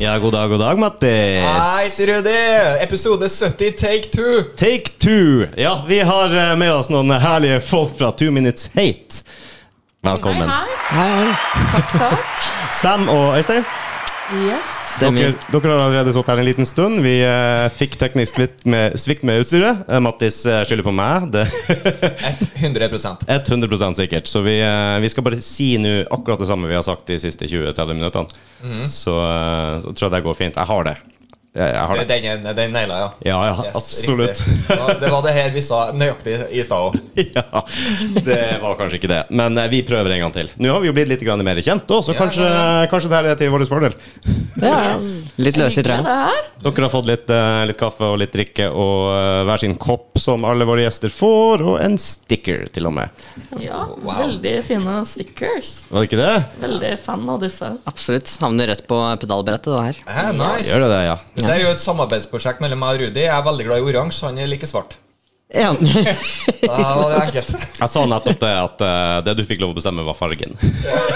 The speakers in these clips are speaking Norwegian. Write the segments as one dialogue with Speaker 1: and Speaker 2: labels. Speaker 1: Ja, god dag, god dag, Mattis.
Speaker 2: Hei, Rudi! Episode 70, take two.
Speaker 1: Take two. Ja, vi har eh, med oss noen herlige folk fra Two Minutes Hate. Velkommen.
Speaker 3: Hei, hei. Takk, takk.
Speaker 1: Sam og Øystein,
Speaker 3: Yes.
Speaker 1: dere, dere har allerede sittet her en liten stund. Vi eh, fikk teknisk svikt med, svikt med utstyret. Eh, Mattis eh, skylder på meg. Det
Speaker 2: 100
Speaker 1: er 100 sikkert. Så vi, eh, vi skal bare si nå akkurat det samme vi har sagt de siste 20-30 minuttene. Så, eh, så tror jeg det går fint. Jeg har det. Jeg, jeg har
Speaker 2: Det-
Speaker 1: det.
Speaker 2: Den, den naila, ja.
Speaker 1: Ja, ja,
Speaker 2: Yes,
Speaker 1: absolutt.
Speaker 2: riktig. Ja, Det var det her vi sa nøyaktig i stad òg.
Speaker 1: Ja, det var kanskje ikke det. Men eh, vi prøver en gang til. Nå har vi jo blitt litt grann mer kjent òg, så
Speaker 2: Ja,
Speaker 1: kanskje, kanskje det her er til vår fordel.
Speaker 4: Ja, litt løs i
Speaker 3: Hyggelig
Speaker 4: trærne.
Speaker 3: det her.
Speaker 1: Dere har fått litt, eh, litt kaffe og litt drikke og eh, hver sin kopp, som alle våre gjester får, og en sticker, til og med.
Speaker 3: Ja, veldig fine stickers.
Speaker 1: Var det ikke det?
Speaker 3: Veldig fan av disse.
Speaker 4: Absolutt. Havner rett på pedalbrettet, det her.
Speaker 2: Nice.
Speaker 1: Gjør det det, ja?
Speaker 2: Det er jo et samarbeidsprosjekt mellom meg og Rudi. Jeg er veldig glad i oransje, han er like svart.
Speaker 4: Ja.
Speaker 2: Da var det enkelt.
Speaker 1: Jeg sa nettopp det at eh, det du fikk lov å bestemme, var fargen.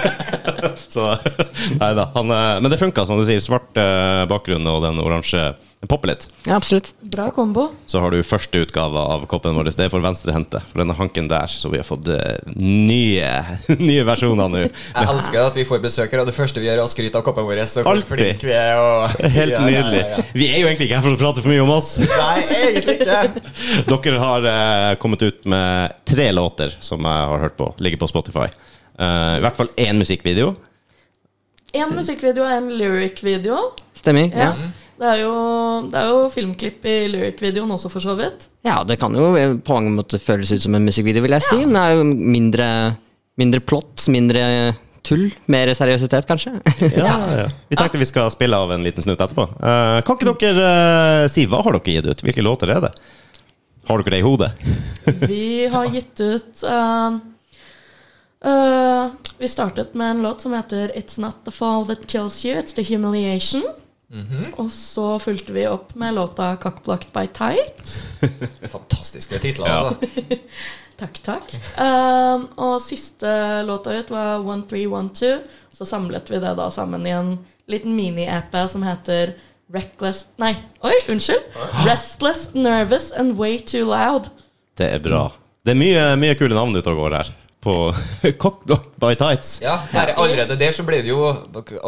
Speaker 1: så nei da. Han, eh, men det funka, som du sier. Svart eh, bakgrunn og den oransje den popper litt.
Speaker 4: ja, absolutt.
Speaker 3: Bra kombo.
Speaker 1: Så har du første utgave av koppen vår. Det er for venstrehendte. For denne hanken der, så vi har fått eh, nye, nye versjoner nå.
Speaker 2: Jeg elsker at vi får besøkere, og det første vi gjør, er å skryte av koppen vår. Så hvor
Speaker 1: Altid.
Speaker 2: flink vi er, og
Speaker 1: Helt
Speaker 2: Ja, ja, ja,
Speaker 1: nydelig.
Speaker 2: ja.
Speaker 1: Vi er jo egentlig ikke her for å prate for mye om oss.
Speaker 2: Nei, egentlig ikke.
Speaker 1: Dere har eh, kommet ut med tre låter som jeg har hørt på, ligger på Spotify. Eh, I hvert fall én musikkvideo.
Speaker 3: En musikkvideo og en lyric-video.
Speaker 4: Stemmer. Ja.
Speaker 3: Ja. Det, er jo, det er jo filmklipp i lyric-videoen også, for så vidt.
Speaker 4: ja, det kan jo eh, på mange måter føles ut som en musikkvideo, vil jeg si. Men det er jo mindre, mindre plott, mindre tull. Mer seriøsitet, kanskje.
Speaker 1: Ja, ja. Vi tenkte vi skal spille av en liten snutt etterpå. Eh, kan ikke dere eh, si hva har dere gitt ut? Hvilke låter er det? Har dere det i hodet?
Speaker 3: Vi har gitt ut eh, eh, Vi startet med en låt som heter It's Not The Fall That Kills You, It's The Humiliation. Og så fulgte vi opp med låta Cockblocked by Tight.
Speaker 2: Fantastiske titler,
Speaker 1: Ja.
Speaker 2: altså.
Speaker 3: Takk, takk. Ehm, og siste låta ut var 1312. Så samlet vi det da sammen i en liten mini-app som heter Reckless Nei, oi, unnskyld. Restless, Nervous and Way Too Loud.
Speaker 1: Det er bra. Det er mye, mye kule navn ute og går her. På Cockblock by Tights.
Speaker 2: Ja, bare allerede der så blir det jo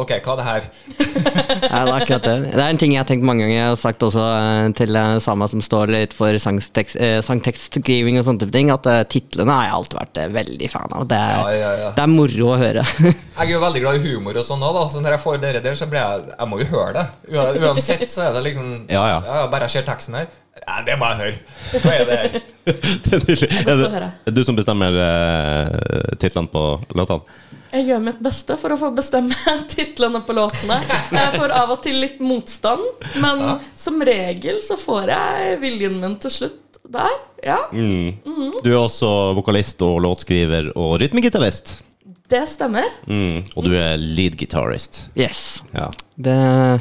Speaker 2: Ok, hva er det her?
Speaker 4: Ja, det er akkurat det. Det er en ting jeg har tenkt mange ganger. Jeg har sagt også eh, til eh, Sama som står litt for sangtekst, eh, sangtekstskriving og sånne type ting, at eh, titlene har jeg alltid vært eh, veldig fan av. Det
Speaker 2: Ja,
Speaker 4: er,
Speaker 2: ja, ja.
Speaker 4: det er moro å høre.
Speaker 2: Jeg er jo veldig glad i humor og sånn òg, da. Så når jeg får dere der, så blir jeg Jeg må jo høre det. Ua- Uansett så er det liksom
Speaker 1: Ja, ja.
Speaker 2: Bare jeg ser teksten her. Ja, det må jeg høre. Hva er det her?
Speaker 1: Det er nydelig.
Speaker 3: godt
Speaker 1: Er
Speaker 3: å høre.
Speaker 1: det du som bestemmer eh, titlene på låtene?
Speaker 3: Jeg gjør mitt beste for å få bestemme titlene på låtene. Jeg får av og til litt motstand, men som regel så får jeg viljen min til slutt der. Ja,
Speaker 1: Mm. Du er også vokalist og låtskriver og rytmegitarist.
Speaker 3: det stemmer.
Speaker 1: Mm. Og du er lead guitarist.
Speaker 4: Yes.
Speaker 1: Ja.
Speaker 4: Det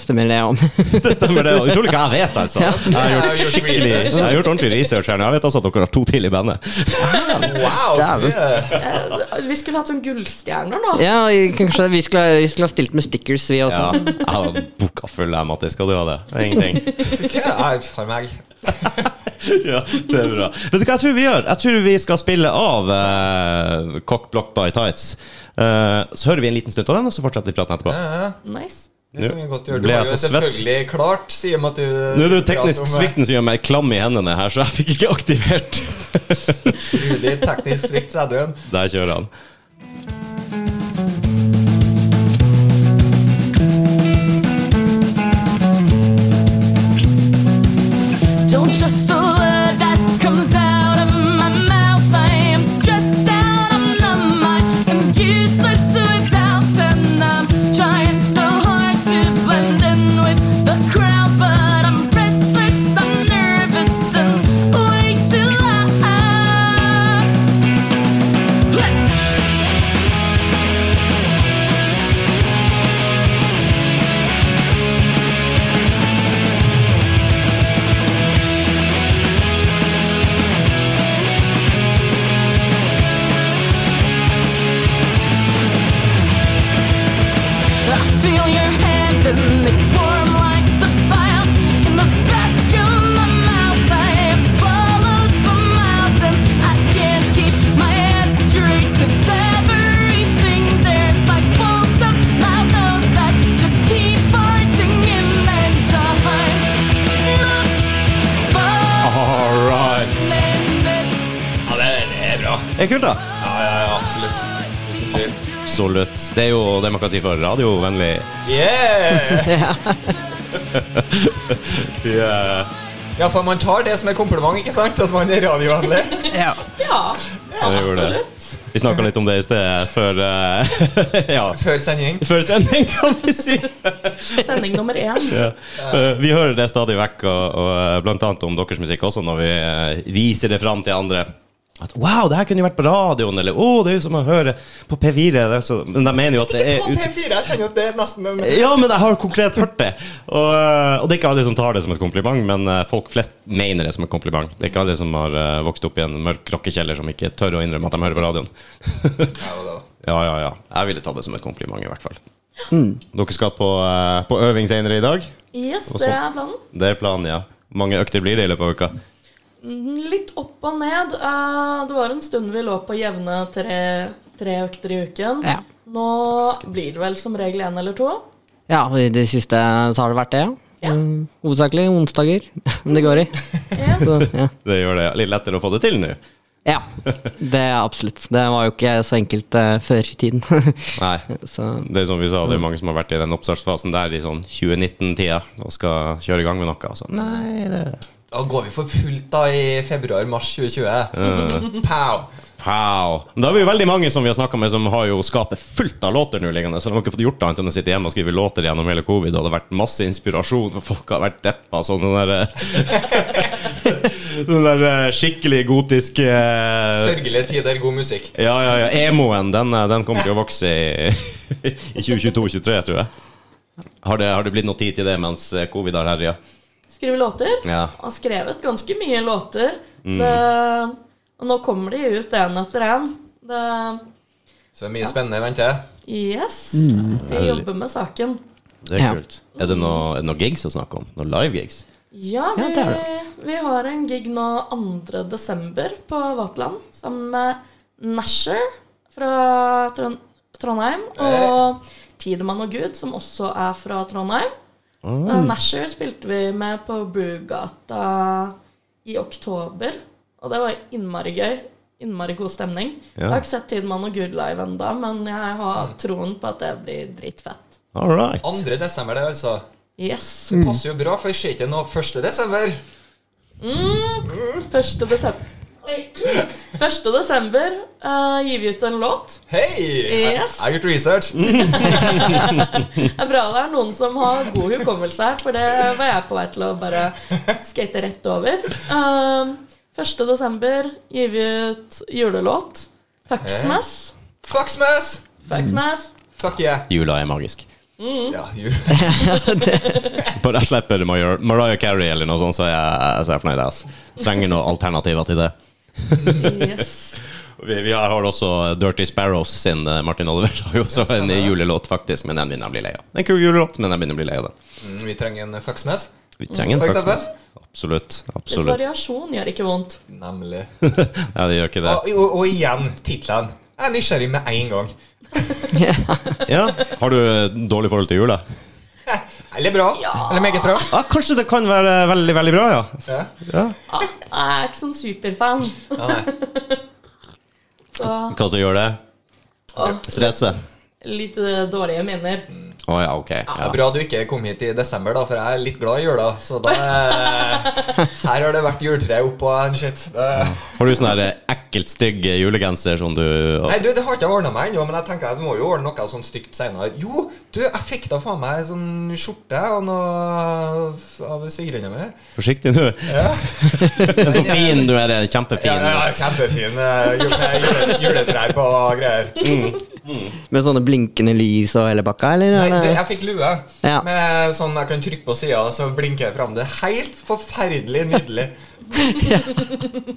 Speaker 4: stemmer det om.
Speaker 1: Det stemmer, det. og Utrolig hva jeg vet, altså. Jeg har
Speaker 2: Jeg har
Speaker 1: gjort
Speaker 2: gjort
Speaker 1: skikkelig
Speaker 2: research.
Speaker 1: Jeg har gjort ordentlig research her. nå. Jeg vet også at dere har to til i bandet.
Speaker 2: Wow!
Speaker 4: Dæven.
Speaker 2: det-
Speaker 3: Eh, Vi skulle hatt sånn gullstjerner nå.
Speaker 4: Ja, kanskje vi skulle, vi skulle ha stilt med stickers, vi også.
Speaker 1: Ja, jeg har boka full, jeg, Mattis. Skal du ha det? Det er Ingenting.
Speaker 2: Hva er det her meg?
Speaker 1: ja, det er bra. Vet du hva jeg tror vi gjør? Jeg tror vi skal spille av uh, Cock Block by Tights. Eh, så hører vi en liten stund av den, og så fortsetter vi praten etterpå.
Speaker 2: Ja, ja.
Speaker 3: Nice.
Speaker 2: Det kan vi godt gjøre.
Speaker 1: Nå
Speaker 2: Du
Speaker 1: ble
Speaker 2: har
Speaker 1: jeg
Speaker 2: jo
Speaker 1: så svett.
Speaker 2: selvfølgelig klart, sier man at du
Speaker 1: Nå er det jo teknisk
Speaker 2: prater om, eh,
Speaker 1: svikten som gjør meg klam i hendene her, så jeg fikk ikke aktivert.
Speaker 2: Rudi, teknisk svikt, sa du.
Speaker 1: Der kjører han.
Speaker 3: Don't trust a word that comes out of my mouth. I am stressed out, I'm numb, I am useless without, and I'm trying so hard to blend in with the crowd, but I'm restless, I'm nervous, and way too loud. I feel your hand and it's warm.
Speaker 1: Det er kult, da.
Speaker 2: Ja, ja, ja, absolutt. Uten tvil.
Speaker 1: Absolutt. Det er jo det man kan si for radiovennlig.
Speaker 2: Yeah!
Speaker 1: Yeah.
Speaker 2: Ja, for man tar det som et kompliment, ikke sant? At man er radiovennlig.
Speaker 5: Ja.
Speaker 3: Ja,
Speaker 1: Ja, vi gjorde det.
Speaker 3: absolutt.
Speaker 1: Vi snakka litt om det i sted, før eh, Ja.
Speaker 2: Før sending.
Speaker 1: Før sending, kan vi si.
Speaker 3: Sending nummer én.
Speaker 1: Ja. Eh, Vi hører det stadig vekk, og, og blant annet om deres musikk også, når vi eh, viser det fram til andre. At, wow, det her kunne jo vært på radioen, eller å, det er jo som å høre på P4. Det er så, men de mener jo at det
Speaker 2: Ikke
Speaker 1: er
Speaker 2: på
Speaker 1: ut...
Speaker 2: P4, jeg kjenner jo at det er nesten en
Speaker 1: Ja, men jeg har konkret hørt det. Og, eh, og det er ikke alle som tar det som et kompliment, men eh, folk flest mener det som et kompliment. Det er ikke alle som har eh, vokst opp i en mørk rockekjeller som ikke tør å innrømme at de hører på radioen.
Speaker 2: Ja, det var det da.
Speaker 1: Ja, ja, ja. Jeg ville ta det som et kompliment, i hvert fall. Dere skal på, eh, på øving senere i dag.
Speaker 3: Yes,
Speaker 1: Og
Speaker 3: det
Speaker 1: sånn.
Speaker 3: er planen.
Speaker 1: Det er planen, ja. Hvor mange økter blir det i løpet av uka?
Speaker 3: Mm, Litt opp og ned. Eh, Det var en stund vi lå på jevne tre, tre økter i uken.
Speaker 5: Ja.
Speaker 3: Nå blir det vel som regel én eller to.
Speaker 4: Ja, og i det siste så har det vært det, ja.
Speaker 3: Ja.
Speaker 4: Mm, Hovedsakelig onsdager, men det går i.
Speaker 3: Yes.
Speaker 4: Så, ja.
Speaker 1: Det gjør det litt lettere å få det til nå.
Speaker 4: ja, det er absolutt. Det var jo ikke så enkelt eh, før i tiden.
Speaker 1: Nei.
Speaker 4: så
Speaker 1: Det er som vi sa, det er mange som har vært i den oppstartsfasen der i sånn 2019-tida og skal kjøre i gang med noe. Altså. Nei, det
Speaker 2: Da går vi for fullt da i februar-mars 2020. Pow!
Speaker 1: Pow. Men da er vi jo veldig mange som vi har snakka med, som har jo skapet fullt av låter nå liggende. Så de har ikke fått gjort annet enn å sitte hjemme og skrive låter gjennom hele covid. Og det har vært masse inspirasjon, for folk har vært deppa sånn den der Den der eh, skikkelig gotiske eh,
Speaker 2: Sørgelige tider, god musikk.
Speaker 1: Ja, ja, ja. Emoen, den, eh, den kommer til å vokse i, i 2022-2023, tror jeg. Har det, har det blitt noe tid til det mens eh, covid har herja?
Speaker 3: Skrive låter.
Speaker 1: Ja. Mm.
Speaker 3: Har skrevet ganske mye låter. Det, og nå kommer de ut én etter én.
Speaker 2: Så det er mye spennende i vente.
Speaker 3: Yes.
Speaker 4: Mm.
Speaker 3: Vi jobber med saken.
Speaker 1: Det er
Speaker 4: Ja.
Speaker 1: kult. Er det noen noe gigs å snakke om? Noen live-gigs?
Speaker 3: Ja,
Speaker 4: Ja,
Speaker 3: vi,
Speaker 4: det er
Speaker 3: vi har en gig nå 2. desember på Vatland sammen med Nasher fra Trond Trondheim og Tidemann og Gud, som også er fra Trondheim. Eh, Nasher spilte vi med på Brugata i oktober, og det var innmari gøy. Innmari god stemning. Jeg har ikke sett Tidemann og Gud live enda, men jeg har troen på at det blir dritfett.
Speaker 1: All right.
Speaker 2: 2. desember, det, altså.
Speaker 3: Yes.
Speaker 2: Det passer jo bra, for det skjer ikke noe 1. desember.
Speaker 3: Første desember Oi. Første desember eh, gir vi ut en låt.
Speaker 2: Hei! Jeg jeg
Speaker 3: Yes.
Speaker 2: har gjort research.
Speaker 3: Det er bra det er noen som har god hukommelse her, for det var jeg på vei til å bare skate rett over. Um, første desember gir vi ut julelåt. Fucksmas.
Speaker 2: Fuck smash! Mm.
Speaker 3: Fucksmas.
Speaker 2: Fuck yeah.
Speaker 1: Jula er magisk.
Speaker 2: Ja, jul.
Speaker 1: Bare jeg slipper Mariah, Mariah Carey eller noe sånt, så er jeg, så er jeg fornøyd. ass. Trenger noen alternativer til det.
Speaker 3: Yes.
Speaker 1: Vi, vi har, har også Dirty Sparrows sin eh, Martin Oliver. Har jo også en julelåt, faktisk, men den begynner jeg å bli lei av. Det er En kul julelåt, men jeg begynner å bli lei av den.
Speaker 2: Mm, Vi trenger en fuck smash.
Speaker 1: Vi trenger en
Speaker 2: For eksempel?
Speaker 1: faktisk. Absolutt.
Speaker 3: Litt
Speaker 1: absolutt.
Speaker 3: variasjon gjør ikke vondt.
Speaker 2: Nemlig.
Speaker 1: Ja, det gjør ikke det.
Speaker 2: Og, og, og igjen titlene. Jeg er nysgjerrig med en gang.
Speaker 1: Ja. Har du eh, dårlig forhold til jula?
Speaker 2: Eller bra. Eller meget bra.
Speaker 1: Ja, kanskje det kan være veldig, veldig bra, ja.
Speaker 2: Ja.
Speaker 1: ja.
Speaker 3: Ah, jeg er ikke sånn superfan.
Speaker 2: Ja, nei.
Speaker 3: Så
Speaker 1: Hva som gjør det?
Speaker 3: ah,
Speaker 1: Stresse?
Speaker 3: litt eh, dårlige minner.
Speaker 1: Å ja, ok.
Speaker 2: Det
Speaker 1: Ja.
Speaker 2: er bra du ikke kom hit i desember, da, for jeg er litt glad i jula. Så da eh, Her har det vært juletre oppå en shit. Det,
Speaker 1: Har du sånn her eh, ekkelt stygg eh, julegenser som du
Speaker 2: nei, du, det har ikke jeg ordna meg ennå, men jeg tenker jeg må jo ordne noe sånn stygt seinere. Jo, du, jeg fikk da faen meg sånn skjorte og noe av svigerinna mi.
Speaker 1: Forsiktig nå. Men så fin du er. eh,
Speaker 2: Ja,
Speaker 1: Kjempefin.
Speaker 2: ja, ja, kjempefin eh, jule, jule, juletrær på og greier.
Speaker 4: Med sånne blinkende lys og hele bakka, eller?
Speaker 2: Nei, det,
Speaker 4: Eller-
Speaker 2: jeg fikk lue
Speaker 4: Ja.
Speaker 2: med sånn jeg kan trykke på sida, og så blinker jeg fram. Det er helt forferdelig nydelig.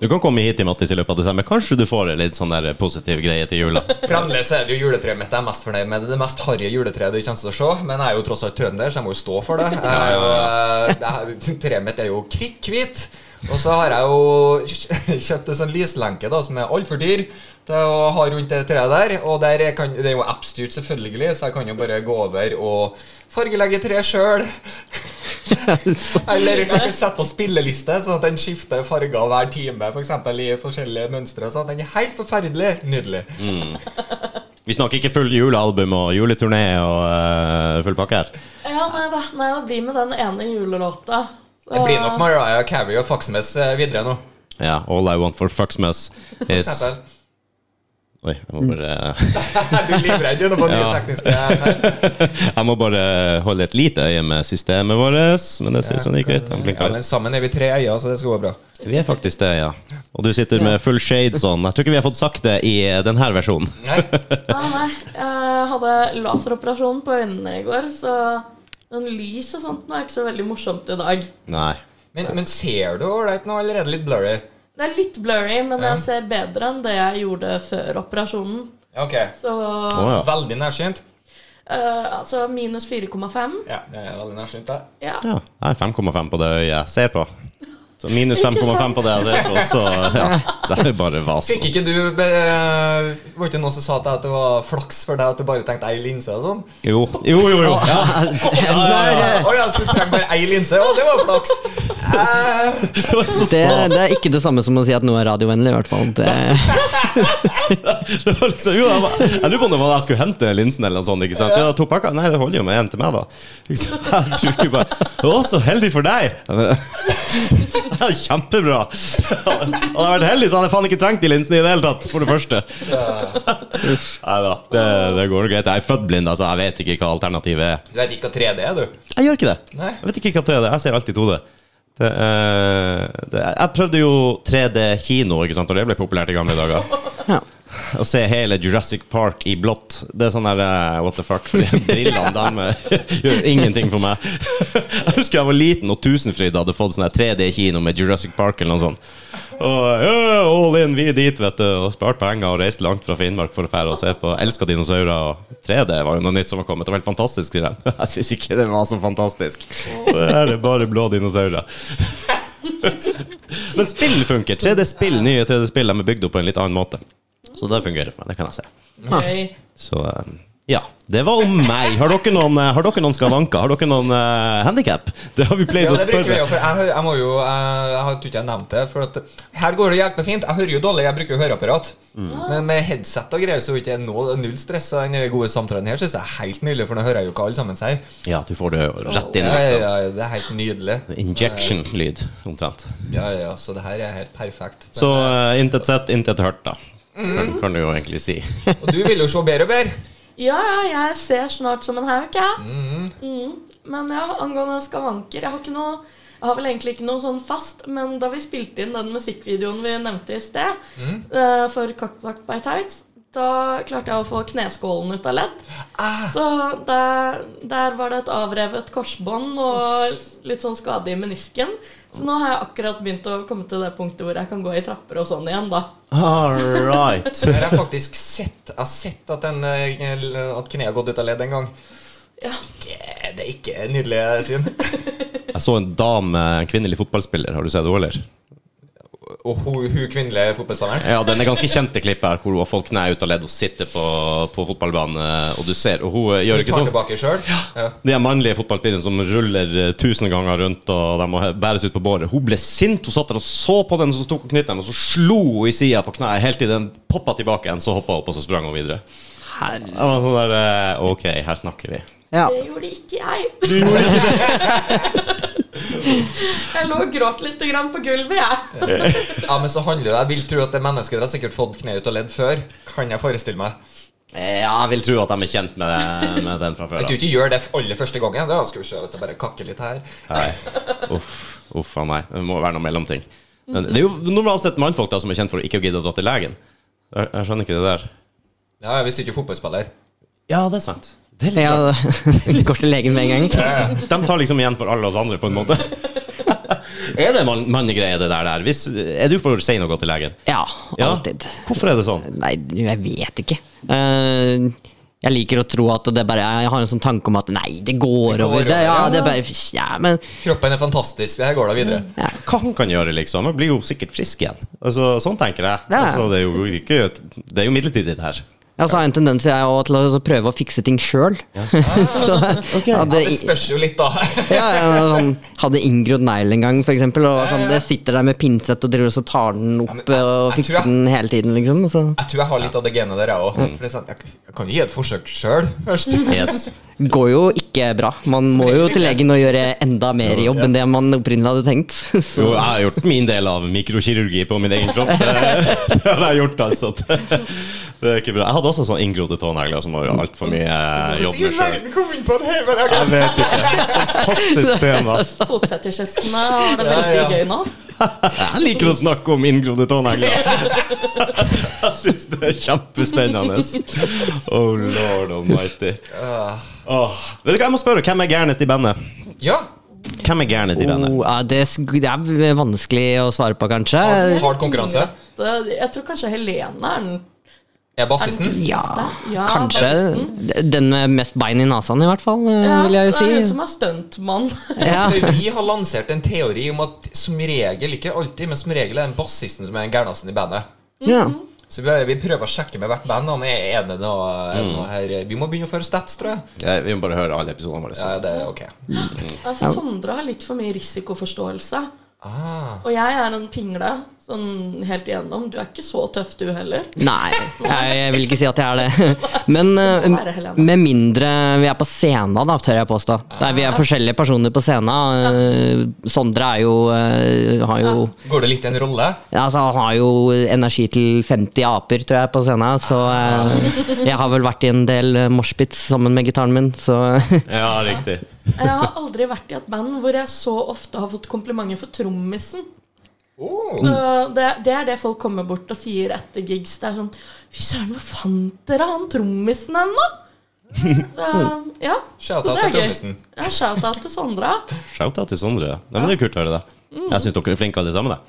Speaker 1: Du kan komme hit til Mattis i løpet av desember. Kanskje du får en litt sånn der positiv greie til jula.
Speaker 2: Fremdeles er det jo juletreet mitt jeg er mest fornøyd med. Det er det mest harry juletreet du kommer til å se, men jeg er jo tross alt trønder, så jeg må jo stå for det. Jeg er jo, eh, det her- treet mitt er jo kritthvitt. Og så har jeg jo kj- kjøpt en sånn lyslenke da, som er altfor dyr til å ha rundt det treet der. Og der kan, det er jo app-styrt, selvfølgelig, så jeg kan jo bare gå over og fargelegge treet sjøl. Eller jeg kan sette på spilleliste, sånn at den skifter farger hver time. For eksempel, i forskjellige mønstre. Sånn at den er helt forferdelig nydelig.
Speaker 1: Vi snakker ikke full julealbum og juleturné og eh, full pakke her.
Speaker 3: Ja, nei da, nei, det blir med den ene julelåta. Så-
Speaker 2: Det blir nok Mariah Carey og Foxmes eh, videre nå.
Speaker 1: Ja, All I Want for Fucksmas
Speaker 2: for
Speaker 1: is
Speaker 2: eksempel.
Speaker 1: Oi, jeg må bare
Speaker 2: Du er livredd gjennom nye
Speaker 1: Ja.
Speaker 2: tekniske feil.
Speaker 1: Jeg må bare holde et lite øye med systemet vårt, men det ser ut som det gikk greit. Han
Speaker 2: Ja,
Speaker 1: blinker.
Speaker 2: men sammen er vi tre øyne, så det skal gå bra.
Speaker 1: Vi er faktisk det, ja. Og du sitter med full shade sånn. Jeg tror ikke vi har fått sagt det i denne versjonen.
Speaker 2: Nei,
Speaker 3: Nei, nei. Jeg hadde laseroperasjon på øynene i går, så den lys og sånt nå er ikke så veldig morsomt i dag.
Speaker 1: Nei.
Speaker 2: Men, men ser du ålreit nå? Allerede litt blurry?
Speaker 3: Det er litt blurry, men
Speaker 2: Ja.
Speaker 3: jeg ser bedre enn det jeg gjorde før operasjonen.
Speaker 2: Ok.
Speaker 3: Så
Speaker 1: Å ja.
Speaker 2: Veldig nærsynt?
Speaker 3: eh, altså minus 4,5.
Speaker 2: Ja, det er veldig nærsynt, da.
Speaker 3: Ja.
Speaker 1: ja. Jeg er 5,5 på det øyet jeg ser på. Så minus 5,5 på det jeg ser på, så ja. Det er bare vas.
Speaker 2: Fikk ikke du be, eh, Var ikke noen som sa til deg at det var flaks for deg at du bare tenkte ei linse og sånn?
Speaker 1: Jo, jo, jo. jo. Ja.
Speaker 4: Når,
Speaker 2: Å ja, så du trenger bare ei linse? Å, det var flaks! Eh,
Speaker 1: Det var så
Speaker 4: det,
Speaker 1: sant.
Speaker 4: det er ikke det samme som å si at noe er radiovennlig, i hvert fall. Det,
Speaker 1: Det var liksom, jo, jeg, var, jeg lurer på om det var da jeg skulle hente den linsen eller noe sånt. ikke sant? Ja, to pakker? Nei, det holder jo med én til meg, da. Liksom, jeg tror ikke bare, Å, så heldig for deg! Ja, Kjempebra! Hadde jeg vært heldig, så hadde jeg faen ikke trengt de linsene i det hele tatt. For det første. Nei da, det, det går greit. Jeg er født blind, altså. Jeg vet ikke hva alternativet er.
Speaker 2: du vet ikke hva 3D er, du?
Speaker 1: Jeg gjør ikke det.
Speaker 2: Nei.
Speaker 1: Jeg vet ikke hva 3D er. Jeg ser alltid 2D. Det, eh, det, jeg prøvde jo 3D-kino, ikke sant, og det ble populært i gamle dager.
Speaker 4: Ja.
Speaker 1: Å se hele Jurassic Park i blått. Det er sånn der eh, what the fuck. fordi Brillene, de eh, gjør ingenting for meg. Jeg husker jeg var liten, og Tusenfryd hadde fått sånn her 3D-kino med Jurassic Park eller noe sånt. Og eh, all in, vi er dit, vet du. Og spart penger og reist langt fra Finnmark for å fære og se på. Elska dinosaurer. Og 3D var jo noe nytt som var kommet. Det var helt fantastisk, sier de. Jeg syns ikke det var så fantastisk. Så her er bare blå dinosaurer. Men spill funker. 3D-spill, nye 3D-spill, de er bygd opp på en litt annen måte. Så det fungerer for meg. Det kan jeg se.
Speaker 3: Gøy.
Speaker 1: Så eh, ja. Det var om meg. Har dere noen, eh, har dere noen skavanker? Har dere noen uh, handikap? Det har vi pleid
Speaker 2: Ja,
Speaker 1: å
Speaker 2: det bruker vi
Speaker 1: spørre.
Speaker 2: jo, for jeg, hø- jeg må jo Jeg, jeg har- tror ikke jeg nevnte det. For at her går det jækla fint. Jeg hører jo dårlig, jeg bruker jo høreapparat.
Speaker 1: Mm.
Speaker 2: Men med headset og greier så er det ikke noe, null stress. Og den gode samtalen her syns jeg er helt nydelig, for nå hører jeg jo hva alle sammen sier.
Speaker 1: Ja, du får det jo rett inn.
Speaker 2: Ja,
Speaker 1: Liksom.
Speaker 2: ja, ja, det er helt nydelig.
Speaker 1: Injection-lyd, omtrent.
Speaker 2: Ja, ja, så det her er helt perfekt. Men-
Speaker 1: Så eh, intet sett, intet hørt, da. Kan, kan du jo egentlig si.
Speaker 2: Og du vil jo se bedre og bedre.
Speaker 3: Ja, ja, jeg ser snart som en hauk, jeg. Mm. Men ja, angående skavanker Jeg har ikke noe jeg har vel egentlig ikke noe sånn fast, men da vi spilte inn den musikkvideoen vi nevnte i sted, eh, for Cockblock by Tights, da klarte jeg å få kneskålen ut av ledd. Så der, der var det et avrevet korsbånd og litt sånn skade i menisken. Så nå har jeg akkurat begynt å komme til det punktet hvor jeg kan gå i trapper og sånn igjen, da.
Speaker 1: All right.
Speaker 2: Jeg har faktisk sett Jeg har sett at, den, eh, at kneet har gått ut av ledd en gang.
Speaker 3: Ja.
Speaker 2: Ikke- Det er ikke nydelig syn.
Speaker 1: Jeg så en dame, en kvinnelig fotballspiller, har du sett henne, eller?
Speaker 2: Og hun, hun kvinnelige fotballspilleren.
Speaker 1: Ja, den er ganske kjente klippet her, hvor hun har fått kne ut av ledd og sitter på, på fotballbanen, eh, og du ser, og hun eh, gjør
Speaker 2: Hun
Speaker 1: ikke
Speaker 2: tar
Speaker 1: sånn
Speaker 2: tilbake sjøl. Ja.
Speaker 1: de her mannlige fotballspillerne som ruller eh, tusen ganger rundt, og de må he- bæres ut på båret. Hun ble sint, hun satt der og så på den som tok og knyttet dem, og så slo hun i sida på kneet helt til den poppa tilbake igjen, så hoppa hun opp, og så sprang hun videre.
Speaker 4: herre.
Speaker 1: Jeg var sånn der eh, OK, her snakker vi.
Speaker 4: Ja.
Speaker 3: Det gjorde ikke jeg. jeg lå og gråt litt grann på gulvet, jeg.
Speaker 2: Ja, men så handler det Jeg vil tro at det mennesket der har sikkert fått kne ut av ledd før. Kan jeg forestille meg.
Speaker 1: Eh, Ja, jeg vil tro at de er kjent med, med den fra før.
Speaker 2: Jeg
Speaker 1: da.
Speaker 2: tror ikke jeg gjør det aller første gangen. Da skal vi se hvis jeg bare kakker litt her.
Speaker 1: Nei. Uff uff a meg. Det må være noe mellomting. Men det er jo normalt sett mannfolk da som er kjent for å ikke gidde å dra til legen. Jeg, jeg skjønner ikke det der.
Speaker 2: Ja, Hvis du ikke er fotballspiller.
Speaker 1: Ja, det er sant. Det er litt
Speaker 4: Ja, det går til legen med en gang.
Speaker 1: rart. De tar liksom igjen for alle oss andre, på en måte. er det man- mannegreie, det der? der? Hvis, er du for sein å gå til legen?
Speaker 4: Ja,
Speaker 1: Ja.
Speaker 4: alltid.
Speaker 1: Hvorfor er det sånn?
Speaker 4: Nei, jeg vet ikke. Eh, jeg liker å tro at det bare Jeg har en sånn tanke om at nei, det går,
Speaker 2: går
Speaker 4: over.
Speaker 2: over,
Speaker 4: Det, ja,
Speaker 2: ja.
Speaker 4: det er bare Ja, men
Speaker 2: Kroppen er fantastisk. Det her går da videre.
Speaker 4: Mm.
Speaker 1: Hva han kan gjøre, liksom? Han blir jo sikkert frisk igjen. Altså, sånn tenker jeg.
Speaker 4: Ja.
Speaker 1: Altså, det, er jo ikke, det er jo midlertidig, det her.
Speaker 4: Ja, så har jeg en tendens jeg, også, til å så prøve å fikse ting sjøl. så
Speaker 2: Ah, Ja,
Speaker 4: hadde,
Speaker 2: det spørs jo litt, da.
Speaker 4: ja, ja, men sånn, hadde inngrodd negl en gang, for eksempel. Og sånn, det sitter der med pinsett og driver og så tar den
Speaker 2: Ja, men
Speaker 4: opp
Speaker 2: jeg-
Speaker 4: og
Speaker 2: jeg tror
Speaker 4: fikser
Speaker 2: jeg-
Speaker 4: den hele tiden, liksom. og Så.
Speaker 2: Jeg tror jeg har litt av det genet der, jeg òg.
Speaker 4: Mm.
Speaker 2: For det er Sånn, jeg, jeg kan jo gi et forsøk sjøl først.
Speaker 1: Yes.
Speaker 4: Går jo ikke bra. Man må jo
Speaker 2: regel
Speaker 4: til
Speaker 2: ikke.
Speaker 4: legen og gjøre enda mer
Speaker 1: Jo,
Speaker 4: jobb
Speaker 1: yes.
Speaker 4: enn det man opprinnelig hadde tenkt. Så.
Speaker 1: Jo, jeg har gjort min del av mikrokirurgi på min egen kropp. Det, det har jeg gjort, altså. Det, det er ikke bra. Jeg hadde også sånn inngrodde tånegler som var altfor mye eh, jobb med sjøl.
Speaker 2: kom inn på det her, men det er
Speaker 1: Jeg
Speaker 2: greit.
Speaker 1: vet ikke. Fantastisk tema.
Speaker 3: Fotfetisjistene har det veldig
Speaker 2: Ja, ja.
Speaker 3: gøy nå.
Speaker 1: Jeg liker å snakke om inngrodde tånegler. Jeg syns det er kjempespennende. Oh lord almighty. Åh. Vet du hva, jeg må spørre, hvem er gærnest i bandet?
Speaker 2: Ja.
Speaker 1: Hvem er gærnest i bandet?
Speaker 4: Oh, ja, det, sk- det er vanskelig å svare på, kanskje.
Speaker 2: Hard konkurranse.
Speaker 3: Det- Jeg tror kanskje Helene er den
Speaker 2: Er bassisten?
Speaker 3: Er den-
Speaker 4: Ja,
Speaker 3: Ja,
Speaker 4: kanskje.
Speaker 3: bassisten.
Speaker 4: Den med mest bein i nesen, i hvert fall, eh, vil jeg jo
Speaker 3: Det er hun
Speaker 4: si.
Speaker 3: som er stuntmann.
Speaker 4: Ja.
Speaker 2: For vi har lansert en teori om at som regel, ikke alltid, men som regel er det bassisten som er den gærneste i bandet.
Speaker 4: Ja.
Speaker 2: Så vi, vi prøver å sjekke med hvert band om er er det noe, er
Speaker 1: Mm.
Speaker 2: det noe her Vi må begynne å føre stats, tror jeg.
Speaker 1: Ja, vi må bare høre alle episodene våre.
Speaker 2: Ja, det er ok.
Speaker 3: Ja, for Sondre har litt for mye risikoforståelse.
Speaker 2: Ah.
Speaker 3: Og jeg er en pingle sånn helt igjennom. Du er ikke så tøff, du heller.
Speaker 4: Nei, jeg, jeg vil ikke si at jeg er det. Men eh,
Speaker 3: må være Helene.
Speaker 4: med mindre vi er på scenen, da, tør jeg påstå. Nei, vi er forskjellige personer på scenen. eh, Sondre er jo, eh, har jo
Speaker 2: Går det litt i en rolle?
Speaker 4: Altså, han har jo energi til 50 aper, tror jeg, på scenen. Så
Speaker 3: Ah.
Speaker 4: eh, jeg har vel vært i en del eh, moshpits sammen med gitaren min, så
Speaker 1: Ja, riktig.
Speaker 3: Jeg har aldri vært i et band hvor jeg så ofte har fått komplimenter for trommisen.
Speaker 2: Oh.
Speaker 3: Så Det, det er det folk kommer bort og sier etter gigs. Det er sånn Fy søren, hvor fant dere han trommisen hen, da? Så, ja,
Speaker 2: Shout
Speaker 3: så
Speaker 2: out
Speaker 3: det er
Speaker 2: til
Speaker 3: gøy.
Speaker 2: trommisen.
Speaker 3: Ja, Shout-out til Sondre.
Speaker 1: Shout-out til Sondre. Nei, men det er kult å høre det. Jeg syns dere er flinke alle sammen. jeg.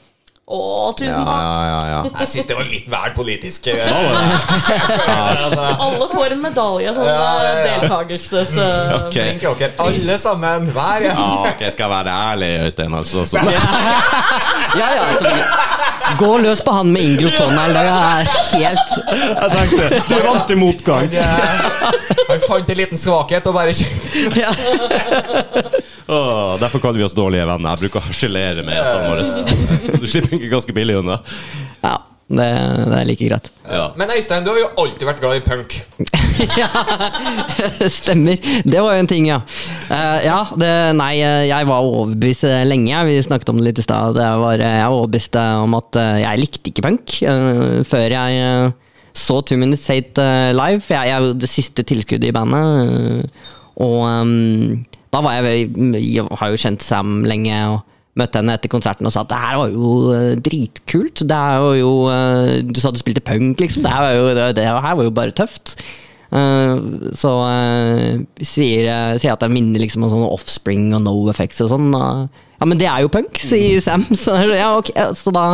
Speaker 3: Å, tusen takk.
Speaker 1: ja, ja.
Speaker 2: Jeg syns det var litt vel politisk.
Speaker 1: Ja,
Speaker 2: eh,
Speaker 1: var det?
Speaker 2: altså.
Speaker 3: Alle får en medalje, sånn eh,
Speaker 2: Ja, ja, Mm, ja.
Speaker 3: deltakelse, så
Speaker 1: Ok.
Speaker 2: Flink er dere, alle sammen. Hver
Speaker 1: Ja,
Speaker 2: en.
Speaker 1: ok, skal jeg være ærlig, Øystein, altså. Så.
Speaker 4: Ja, ja, så vi- Gå løs på han med inngrodd tånegl, det er helt
Speaker 1: Jeg tenkte, du vant til motgang.
Speaker 2: Han, eh, han fant en liten svakhet og bare
Speaker 4: ja.
Speaker 1: Åh, derfor kaller vi oss dårlige venner. Jeg bruker å harselere med gjestene våre. Du slipper ikke ganske billig unna.
Speaker 4: ja det, det er like greit.
Speaker 1: Ja.
Speaker 2: Men Øystein, du har jo alltid vært glad i punk.
Speaker 4: Stemmer. Det var jo en ting, ja. Eh, ja, det, nei, eh, jeg var overbevist eh, lenge. Vi snakket om det litt i stad. at Jeg var eh, jeg var overbevist eh, om at eh, jeg likte ikke punk eh, før jeg eh, så Two Minutes Hate eh, live. For jeg, jeg er jo det siste tilskuddet i bandet. eh, og ehm, da var jeg, vel- jeg har jo kjent Sam lenge. og Møtte henne etter konserten og sa at det her var jo eh, dritkult. Det er jo eh, Du sa du spilte punk, liksom. Det her var jo, det, det her var jo bare tøft. Eh, så eh, sier, eh, sier jeg at jeg minner liksom om sånn offspring og no effects og sånn. og- ja, men det er jo punk, sier Sam. Så, ja, ok, ja, så da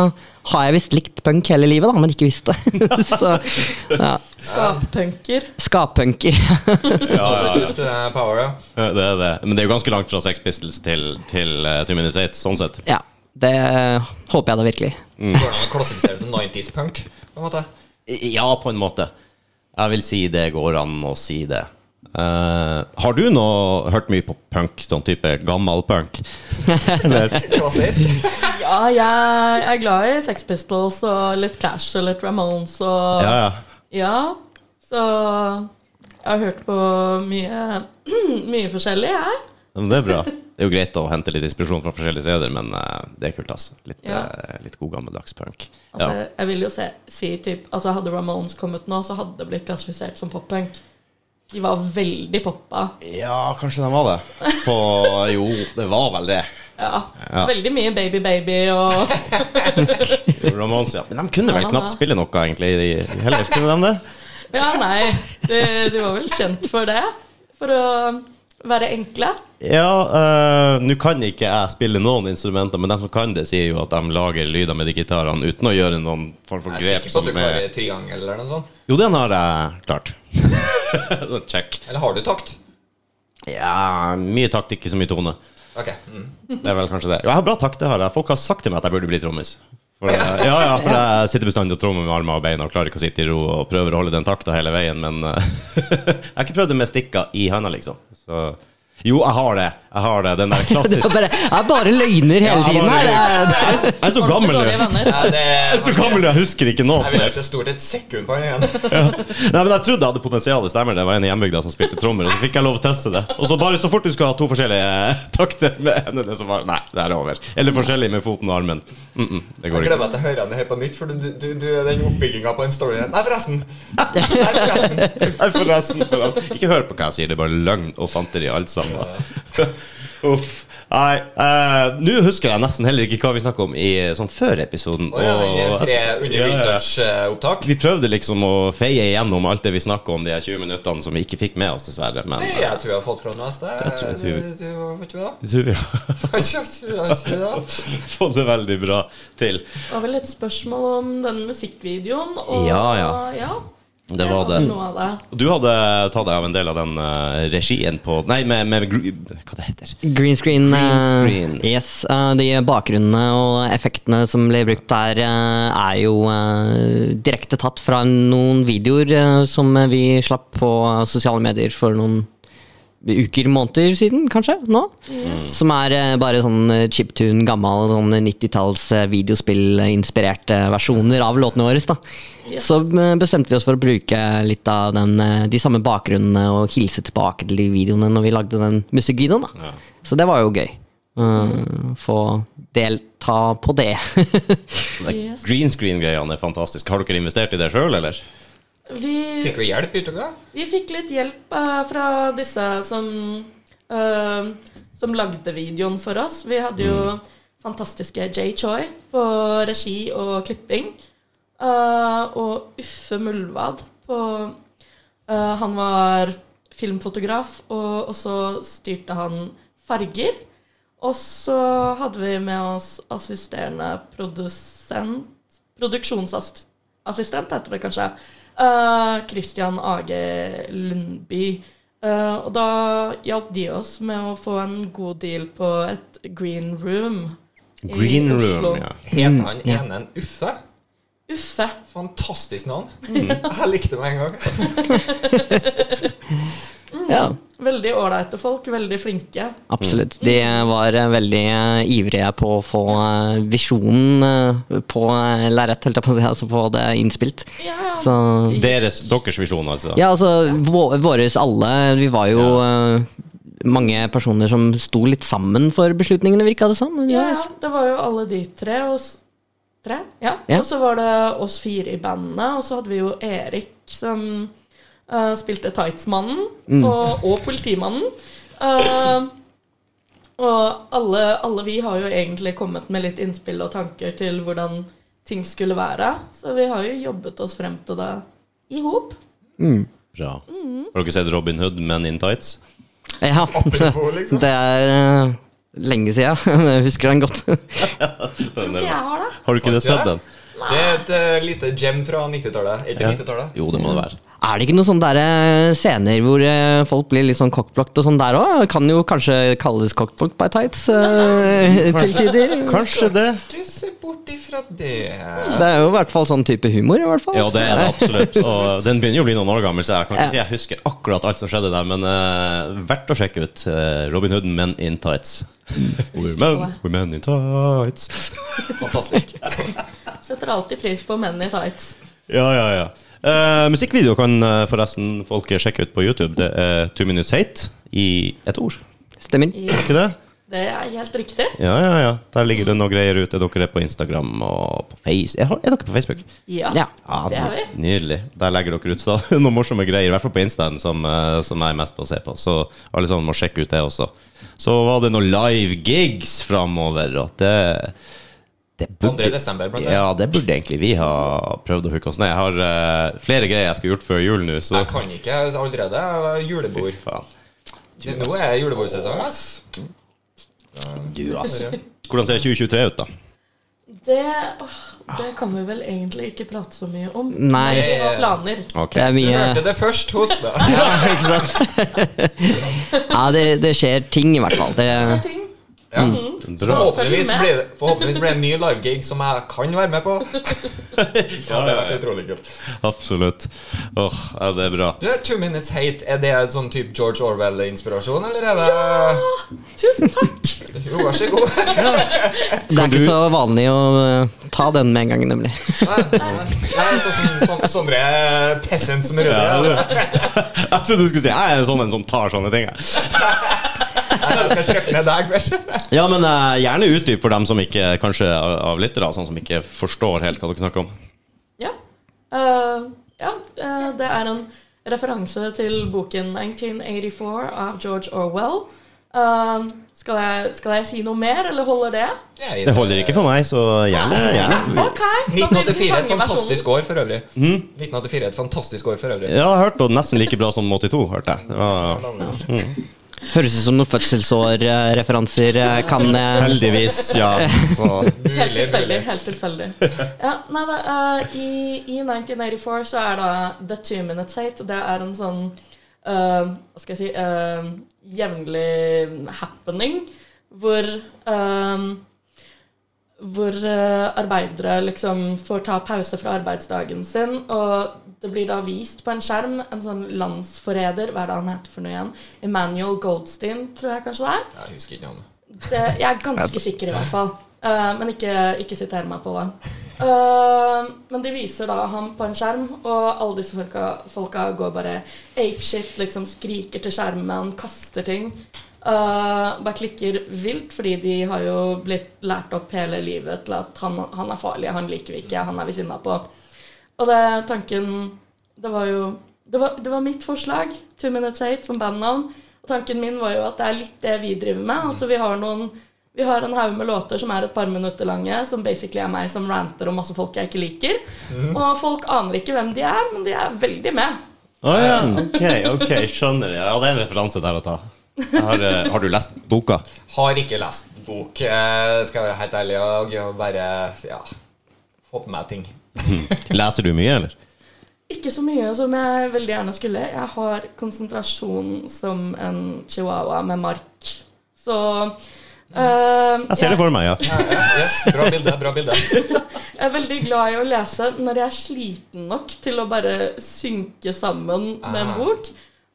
Speaker 4: har jeg visst likt punk hele livet, da, men ikke visst det. så ja.
Speaker 3: skappunker.
Speaker 4: Skappunker.
Speaker 1: Ja, ja, ja.
Speaker 2: Just, eh, Power, ja.
Speaker 1: Det er det. Men det er jo ganske langt fra Sex Pistols til, til eh, Two Minutes Eight, sånn sett.
Speaker 4: ja, det håper jeg da virkelig.
Speaker 1: Mm.
Speaker 2: Går det an å klassifisere det som 90s punk? På en måte.
Speaker 1: Ja, på en måte. Jeg vil si det går an å si det. Eh, har du nå hørt mye på punk, sånn type gammel punk? Eller?
Speaker 2: Klassisk.
Speaker 3: Ja, jeg er glad i Sex Pistols og litt Clash og litt Ramones og
Speaker 1: Ja, ja.
Speaker 3: Ja, så jeg har hørt på mye, mye forskjellig, jeg.
Speaker 1: Men det er bra. Det er jo greit å hente litt inspirasjon fra forskjellige steder, men eh, det er kult, altså. Litt,
Speaker 3: Ja.
Speaker 1: eh, litt god gammeldags punk.
Speaker 3: Altså,
Speaker 1: ja.
Speaker 3: jeg vil jo se, si typ, altså Hadde Ramones kommet nå, så hadde det blitt klassifisert som poppunk. De var veldig poppa.
Speaker 1: ja, kanskje den var det. På Jo, det var vel det.
Speaker 3: Ja.
Speaker 1: Ja.
Speaker 3: Veldig mye Baby Baby og
Speaker 1: Ramones, ja. Men de kunne vel
Speaker 3: Ja,
Speaker 1: knapt
Speaker 3: ja.
Speaker 1: spille noe, egentlig. De, heller kunne de det?
Speaker 3: Ja, nei. De, de var vel kjent for det. For å være enkle.
Speaker 1: Ja, eh, nå kan ikke jeg spille noen instrumenter, men de som kan det, sier jo at de lager lyder med de gitarene uten å gjøre noen form for
Speaker 2: Jeg er
Speaker 1: grep
Speaker 2: sikker på
Speaker 1: som eh,
Speaker 2: at du
Speaker 1: er
Speaker 2: klarer triangel eller noe sånt.
Speaker 1: Jo, den har jeg klart. Så Check.
Speaker 2: Eller har du takt?
Speaker 1: Ja, mye takt, ikke så mye tone.
Speaker 2: Ok. Mm.
Speaker 1: Det er vel kanskje det. Jo, jeg har bra takt, det har jeg. Folk har sagt til meg at jeg burde bli trommis. For, eh, ja, ja, for jeg sitter bestandig og trommer med armer og bein og klarer ikke å sitte i ro og prøver å holde den takta hele veien, men eh, jeg har ikke prøvd det med stikka i handa, liksom. Så, jo, jeg har det. Jeg har det. Den der
Speaker 4: Det er
Speaker 1: klassiske
Speaker 4: bare, det er bare løgner hele
Speaker 1: Ja,
Speaker 4: tiden
Speaker 1: bare
Speaker 4: her. Det er, det er,
Speaker 1: Jeg er så
Speaker 3: Ordentlig
Speaker 1: gammel,
Speaker 3: dårlige
Speaker 1: du.
Speaker 3: venner.
Speaker 2: det,
Speaker 1: Jeg er så gammel, jeg husker ikke noe.
Speaker 2: Jeg ville ikke stort et sekund på den igjen.
Speaker 1: Nei, men Jeg trodde jeg hadde potensial, det stemmer. Det var en i hjembygda som spilte trommer. Og så fikk jeg lov å teste det. Og så bare så fort du skal ha to forskjellige takter med hendene, så bare Nei, det er over. Eller forskjellig med foten og armen. Mm -mm, det går ikke.
Speaker 2: Jeg glemmer at jeg hører den her på nytt, for du, du, du, du- den oppbygginga på den storyen Nei, forresten! Nei, forresten.
Speaker 1: Nei, forresten, forresten. Ikke hør på hva jeg sier, det er bare løgn og fanteri alt sammen. Uff. Nei, eh, nå husker jeg nesten heller ikke hva vi snakka om i sånn før episoden.
Speaker 2: Å ja, den er
Speaker 1: og-
Speaker 2: pre under
Speaker 1: Ja, ja.
Speaker 2: research-opptak.
Speaker 1: Vi prøvde liksom å feie igjennom alt det vi snakka om de her 20 minuttene som vi ikke fikk med oss, dessverre. Men
Speaker 2: Nei,
Speaker 1: eh,
Speaker 2: Jeg tror jeg har fått fra den neste.
Speaker 1: Jeg tror- jeg tror-
Speaker 2: Du- du- Vet du hva?
Speaker 1: jeg tror vi har
Speaker 2: Kjøpt
Speaker 1: fått det veldig bra til.
Speaker 3: Det var vel et spørsmål om den musikkvideoen. Og,
Speaker 1: Ja, ja. Det var det.
Speaker 3: Noe av det.
Speaker 1: Du hadde tatt deg av en del av den eh, regien på Nei, med, med gru- Hva det heter
Speaker 4: Green screen. eh,
Speaker 1: Green screen.
Speaker 4: yes, eh, de bakgrunnene og effektene som ble brukt der, eh, er jo eh, direkte tatt fra noen videoer eh, som vi slapp på sosiale medier for noen uker, måneder siden, kanskje? Nå? Som er eh, bare sånn eh, chiptune, gammel sånn 90-talls eh, videospillinspirerte versjoner av låtene våre. da.
Speaker 3: Yes.
Speaker 4: Så eh, bestemte vi oss for å bruke litt av den, eh, de samme bakgrunnene og hilse tilbake til de videoene når vi lagde den musikkvideoen. da.
Speaker 1: Ja.
Speaker 4: Så det var jo gøy. Eh, Få delta på det.
Speaker 3: Yes.
Speaker 1: Green screen-greiene er fantastisk. Har dere investert i det sjøl, eller?
Speaker 3: Vi,
Speaker 2: Fikk vi hjelp, Ytterga?
Speaker 3: vi fikk litt hjelp eh, fra disse som, eh, som lagde videoen for oss. Vi hadde jo fantastiske Jay Choi på regi og klipping. eh, og Uffe Muldvad på eh, Han var filmfotograf, og også styrte han farger. Og så hadde vi med oss assisterende produsent Produksjonsassistent heter det kanskje. eh, Christian Age Lundby. Eh, og da hjalp de oss med å få en god deal på et green room. i
Speaker 1: Green
Speaker 3: Oslo.
Speaker 1: Room, ja.
Speaker 2: Het han ene en Uffe?
Speaker 3: Uffe.
Speaker 2: Fantastisk navn.
Speaker 1: Mm.
Speaker 2: Jeg likte det med en gang.
Speaker 4: ja.
Speaker 3: Veldig ålreite folk. Veldig flinke.
Speaker 4: Absolutt. De var eh, veldig eh, ivrige på å få eh, visjonen eh, på eh, lerret, holdt jeg på å si, altså få det innspilt.
Speaker 3: Ja, ja.
Speaker 4: Så
Speaker 1: Deres, deres visjon, altså?
Speaker 4: Ja, altså vå- våres alle Vi var jo eh, mange personer som sto litt sammen for beslutningene, virka det som.
Speaker 3: ja, ja. Det var jo alle de tre. Og, s- tre? Ja.
Speaker 4: Ja.
Speaker 3: og så var det oss fire i bandet, og så hadde vi jo Erik som eh, spilte Tightsmannen, og, og politimannen. Eh, og alle, alle vi har jo egentlig kommet med litt innspill og tanker til hvordan ting skulle være, så vi har jo jobbet oss frem til det i hop.
Speaker 1: Bra.
Speaker 3: Mm.
Speaker 1: Har dere sett Robin Hood, Men in Tights?
Speaker 4: Ja,
Speaker 2: Apropos, liksom.
Speaker 4: Det er eh, lenge siden. Jeg husker den godt.
Speaker 3: Tror ikke jeg har det.
Speaker 1: Har du ikke det sett den?
Speaker 2: Det er et eh, lite gem fra 90-tallet. Er ikke 90-tallet?
Speaker 1: Jo, det må det være.
Speaker 4: Er det ikke noen sånne der, eh, scener hvor eh, folk blir litt sånn cockblocked og sånn der òg? Kan jo kanskje kalles cockblocked by tights eh, til tider.
Speaker 1: Kanskje det?
Speaker 2: Ikke se bort ifra det.
Speaker 4: Det er jo i hvert fall sånn type humor. i hvert fall.
Speaker 1: Ja, det er det absolutt. Og den begynner jo å bli noen år gammel, så jeg kan ikke si jeg husker akkurat alt som skjedde der, men eh, verdt å sjekke ut eh, Robin Hood, Men in Tights. Women, women in tights.
Speaker 2: Fantastisk.
Speaker 3: Setter alltid pris på menn i tights.
Speaker 1: Ja, ja, ja. Eh, musikkvideo kan eh, forresten folk sjekke ut på YouTube. Det er Two Minutes Hate i et ord.
Speaker 4: Eh, Stemmer.
Speaker 3: Yes.
Speaker 1: Ikke det?
Speaker 3: Det er helt riktig.
Speaker 1: Ja, ja, ja. Der ligger det noen greier ute. Dere er på Instagram og på Face... Er, er dere på Facebook?
Speaker 3: Ja.
Speaker 4: Ja.
Speaker 1: Ja,
Speaker 3: Det er vi.
Speaker 1: Nydelig. Der legger dere ut stadig noen morsomme greier, i hvert fall på Instaen, som, eh, som jeg er mest på å se på. Så alle sammen må sjekke ut det også. Så var det noen live gigs framover, og det, det
Speaker 2: 2. desember, blant annet.
Speaker 1: Mm. Ja, det burde egentlig vi ha prøvd å hooke oss ned. Jeg har eh, flere greier jeg skulle gjort før jul nå, så
Speaker 2: Jeg kan ikke allerede. Jeg har Julebord.
Speaker 1: faen.
Speaker 2: Det, nå er det julebordsesong, ass.
Speaker 1: Du, altså. Hvordan ser 2023 ut, da?
Speaker 3: Det, åh, det kan vi vel egentlig ikke prate så mye om.
Speaker 4: Nei.
Speaker 3: Men Vi har planer.
Speaker 1: Ok.
Speaker 4: Det er
Speaker 2: Du
Speaker 4: mye
Speaker 2: hørte det først hos meg.
Speaker 4: Ja, ikke sant? Ja, det, det skjer ting, i hvert fall.
Speaker 3: Det skjer
Speaker 4: Det,
Speaker 3: ting.
Speaker 2: Ja.
Speaker 1: Dra.
Speaker 3: Følg
Speaker 2: Forhåpentligvis,
Speaker 3: med.
Speaker 2: blir det, forhåpentligvis blir det en ny livegig som jeg kan være med på. Ja, det
Speaker 1: ja,
Speaker 2: vært
Speaker 1: ja.
Speaker 2: utrolig kult.
Speaker 1: Absolutt. Åh, ja, det er bra.
Speaker 2: Du, Two Minutes Hate, er det en sånn type George Orwell-inspirasjon, eller er det
Speaker 3: Tusen takk!
Speaker 2: Jo, vær så god.
Speaker 4: Det er ikke så vanlig å eh, ta den med en gang, nemlig.
Speaker 2: Nei, nei. Nei, sånn som sånn, sånne peasants med
Speaker 1: Ja,
Speaker 2: røde.
Speaker 1: det. Jeg trodde du skulle si jeg er en sånn en som tar sånne ting. jeg».
Speaker 2: Nei, jeg skal trykke ned deg først.
Speaker 1: Ja, men eh, gjerne utdyp for dem som ikke kanskje av av lyttere sånn som ikke forstår helt hva dere snakker om.
Speaker 3: Ja. Eh, ja, eh, det er en referanse til boken 1984 av George Orwell. Eh, skal, jeg, skal jeg si noe mer, eller holder det?
Speaker 1: Det holder ikke for meg, så gjerne. gjerne.
Speaker 3: Ok, da blir det
Speaker 2: 1984 er et
Speaker 3: den lange versjonen.
Speaker 2: fantastisk år for øvrig. 1984 er et fantastisk år for øvrig.
Speaker 1: Mm. Ja, jeg har hørt på nesten like bra som 82, hørte jeg. Det var
Speaker 4: Høres ut som noen fødselsårreferanser eh, kan eh,
Speaker 1: heldigvis, ja. Så.
Speaker 3: Helt
Speaker 2: Mulig,
Speaker 3: tilfeldig.
Speaker 2: mulig.
Speaker 3: helt tilfeldig. Ja, nei da, eh, i, I 1984 så er da The Two Minutes Hate. Det er en sånn eh, Hva skal jeg si eh, Jevnlig happening hvor eh, hvor eh, arbeidere liksom får ta pause fra arbeidsdagen sin, og det blir da vist på en skjerm en sånn landsforræder, hva er det han heter for noe igjen? Emanuel Goldstein, tror jeg kanskje det er.
Speaker 2: Jeg husker ikke navnet.
Speaker 3: Det, jeg er ganske sikker i hvert fall. Eh, men ikke, ikke siter meg på det. Eh, men de viser da ham på en skjerm, og alle disse folka, folka går bare apeshit, liksom skriker til skjermen, kaster ting. Eh, bare klikker vilt, fordi de har jo blitt lært opp hele livet til at han, han er farlig, han liker vi ikke, han er vi sinna på. Og det tanken Det var jo Det var, det var mitt forslag, Two Minutes Hate, som bandnavn. Og tanken min var jo at det er litt det vi driver med. Altså vi har noen vi har en haug med låter som er et par minutter lange, som basically er meg som ranter om masse folk jeg ikke liker. Og folk aner ikke hvem de er, men de er veldig med.
Speaker 1: Å ja, ok, ok, skjønner. jeg. Ja, det er en referanse der å ta. Jeg Har, eh, har du lest boka?
Speaker 2: Har ikke lest bok. eh, Skal jeg være helt ærlig og og bare ja, få på meg ting.
Speaker 1: Leser du mye, eller?
Speaker 3: Ikke så mye som jeg veldig gjerne skulle. Jeg har konsentrasjon som en chihuahua med mark. Så eh,
Speaker 1: Jeg ser det for meg, ja.
Speaker 2: Ja, ja, Yes, bra bilde. bra bilde
Speaker 3: Jeg er veldig glad i å lese når jeg er sliten nok til å bare synke sammen med en
Speaker 2: Ah.
Speaker 3: bok.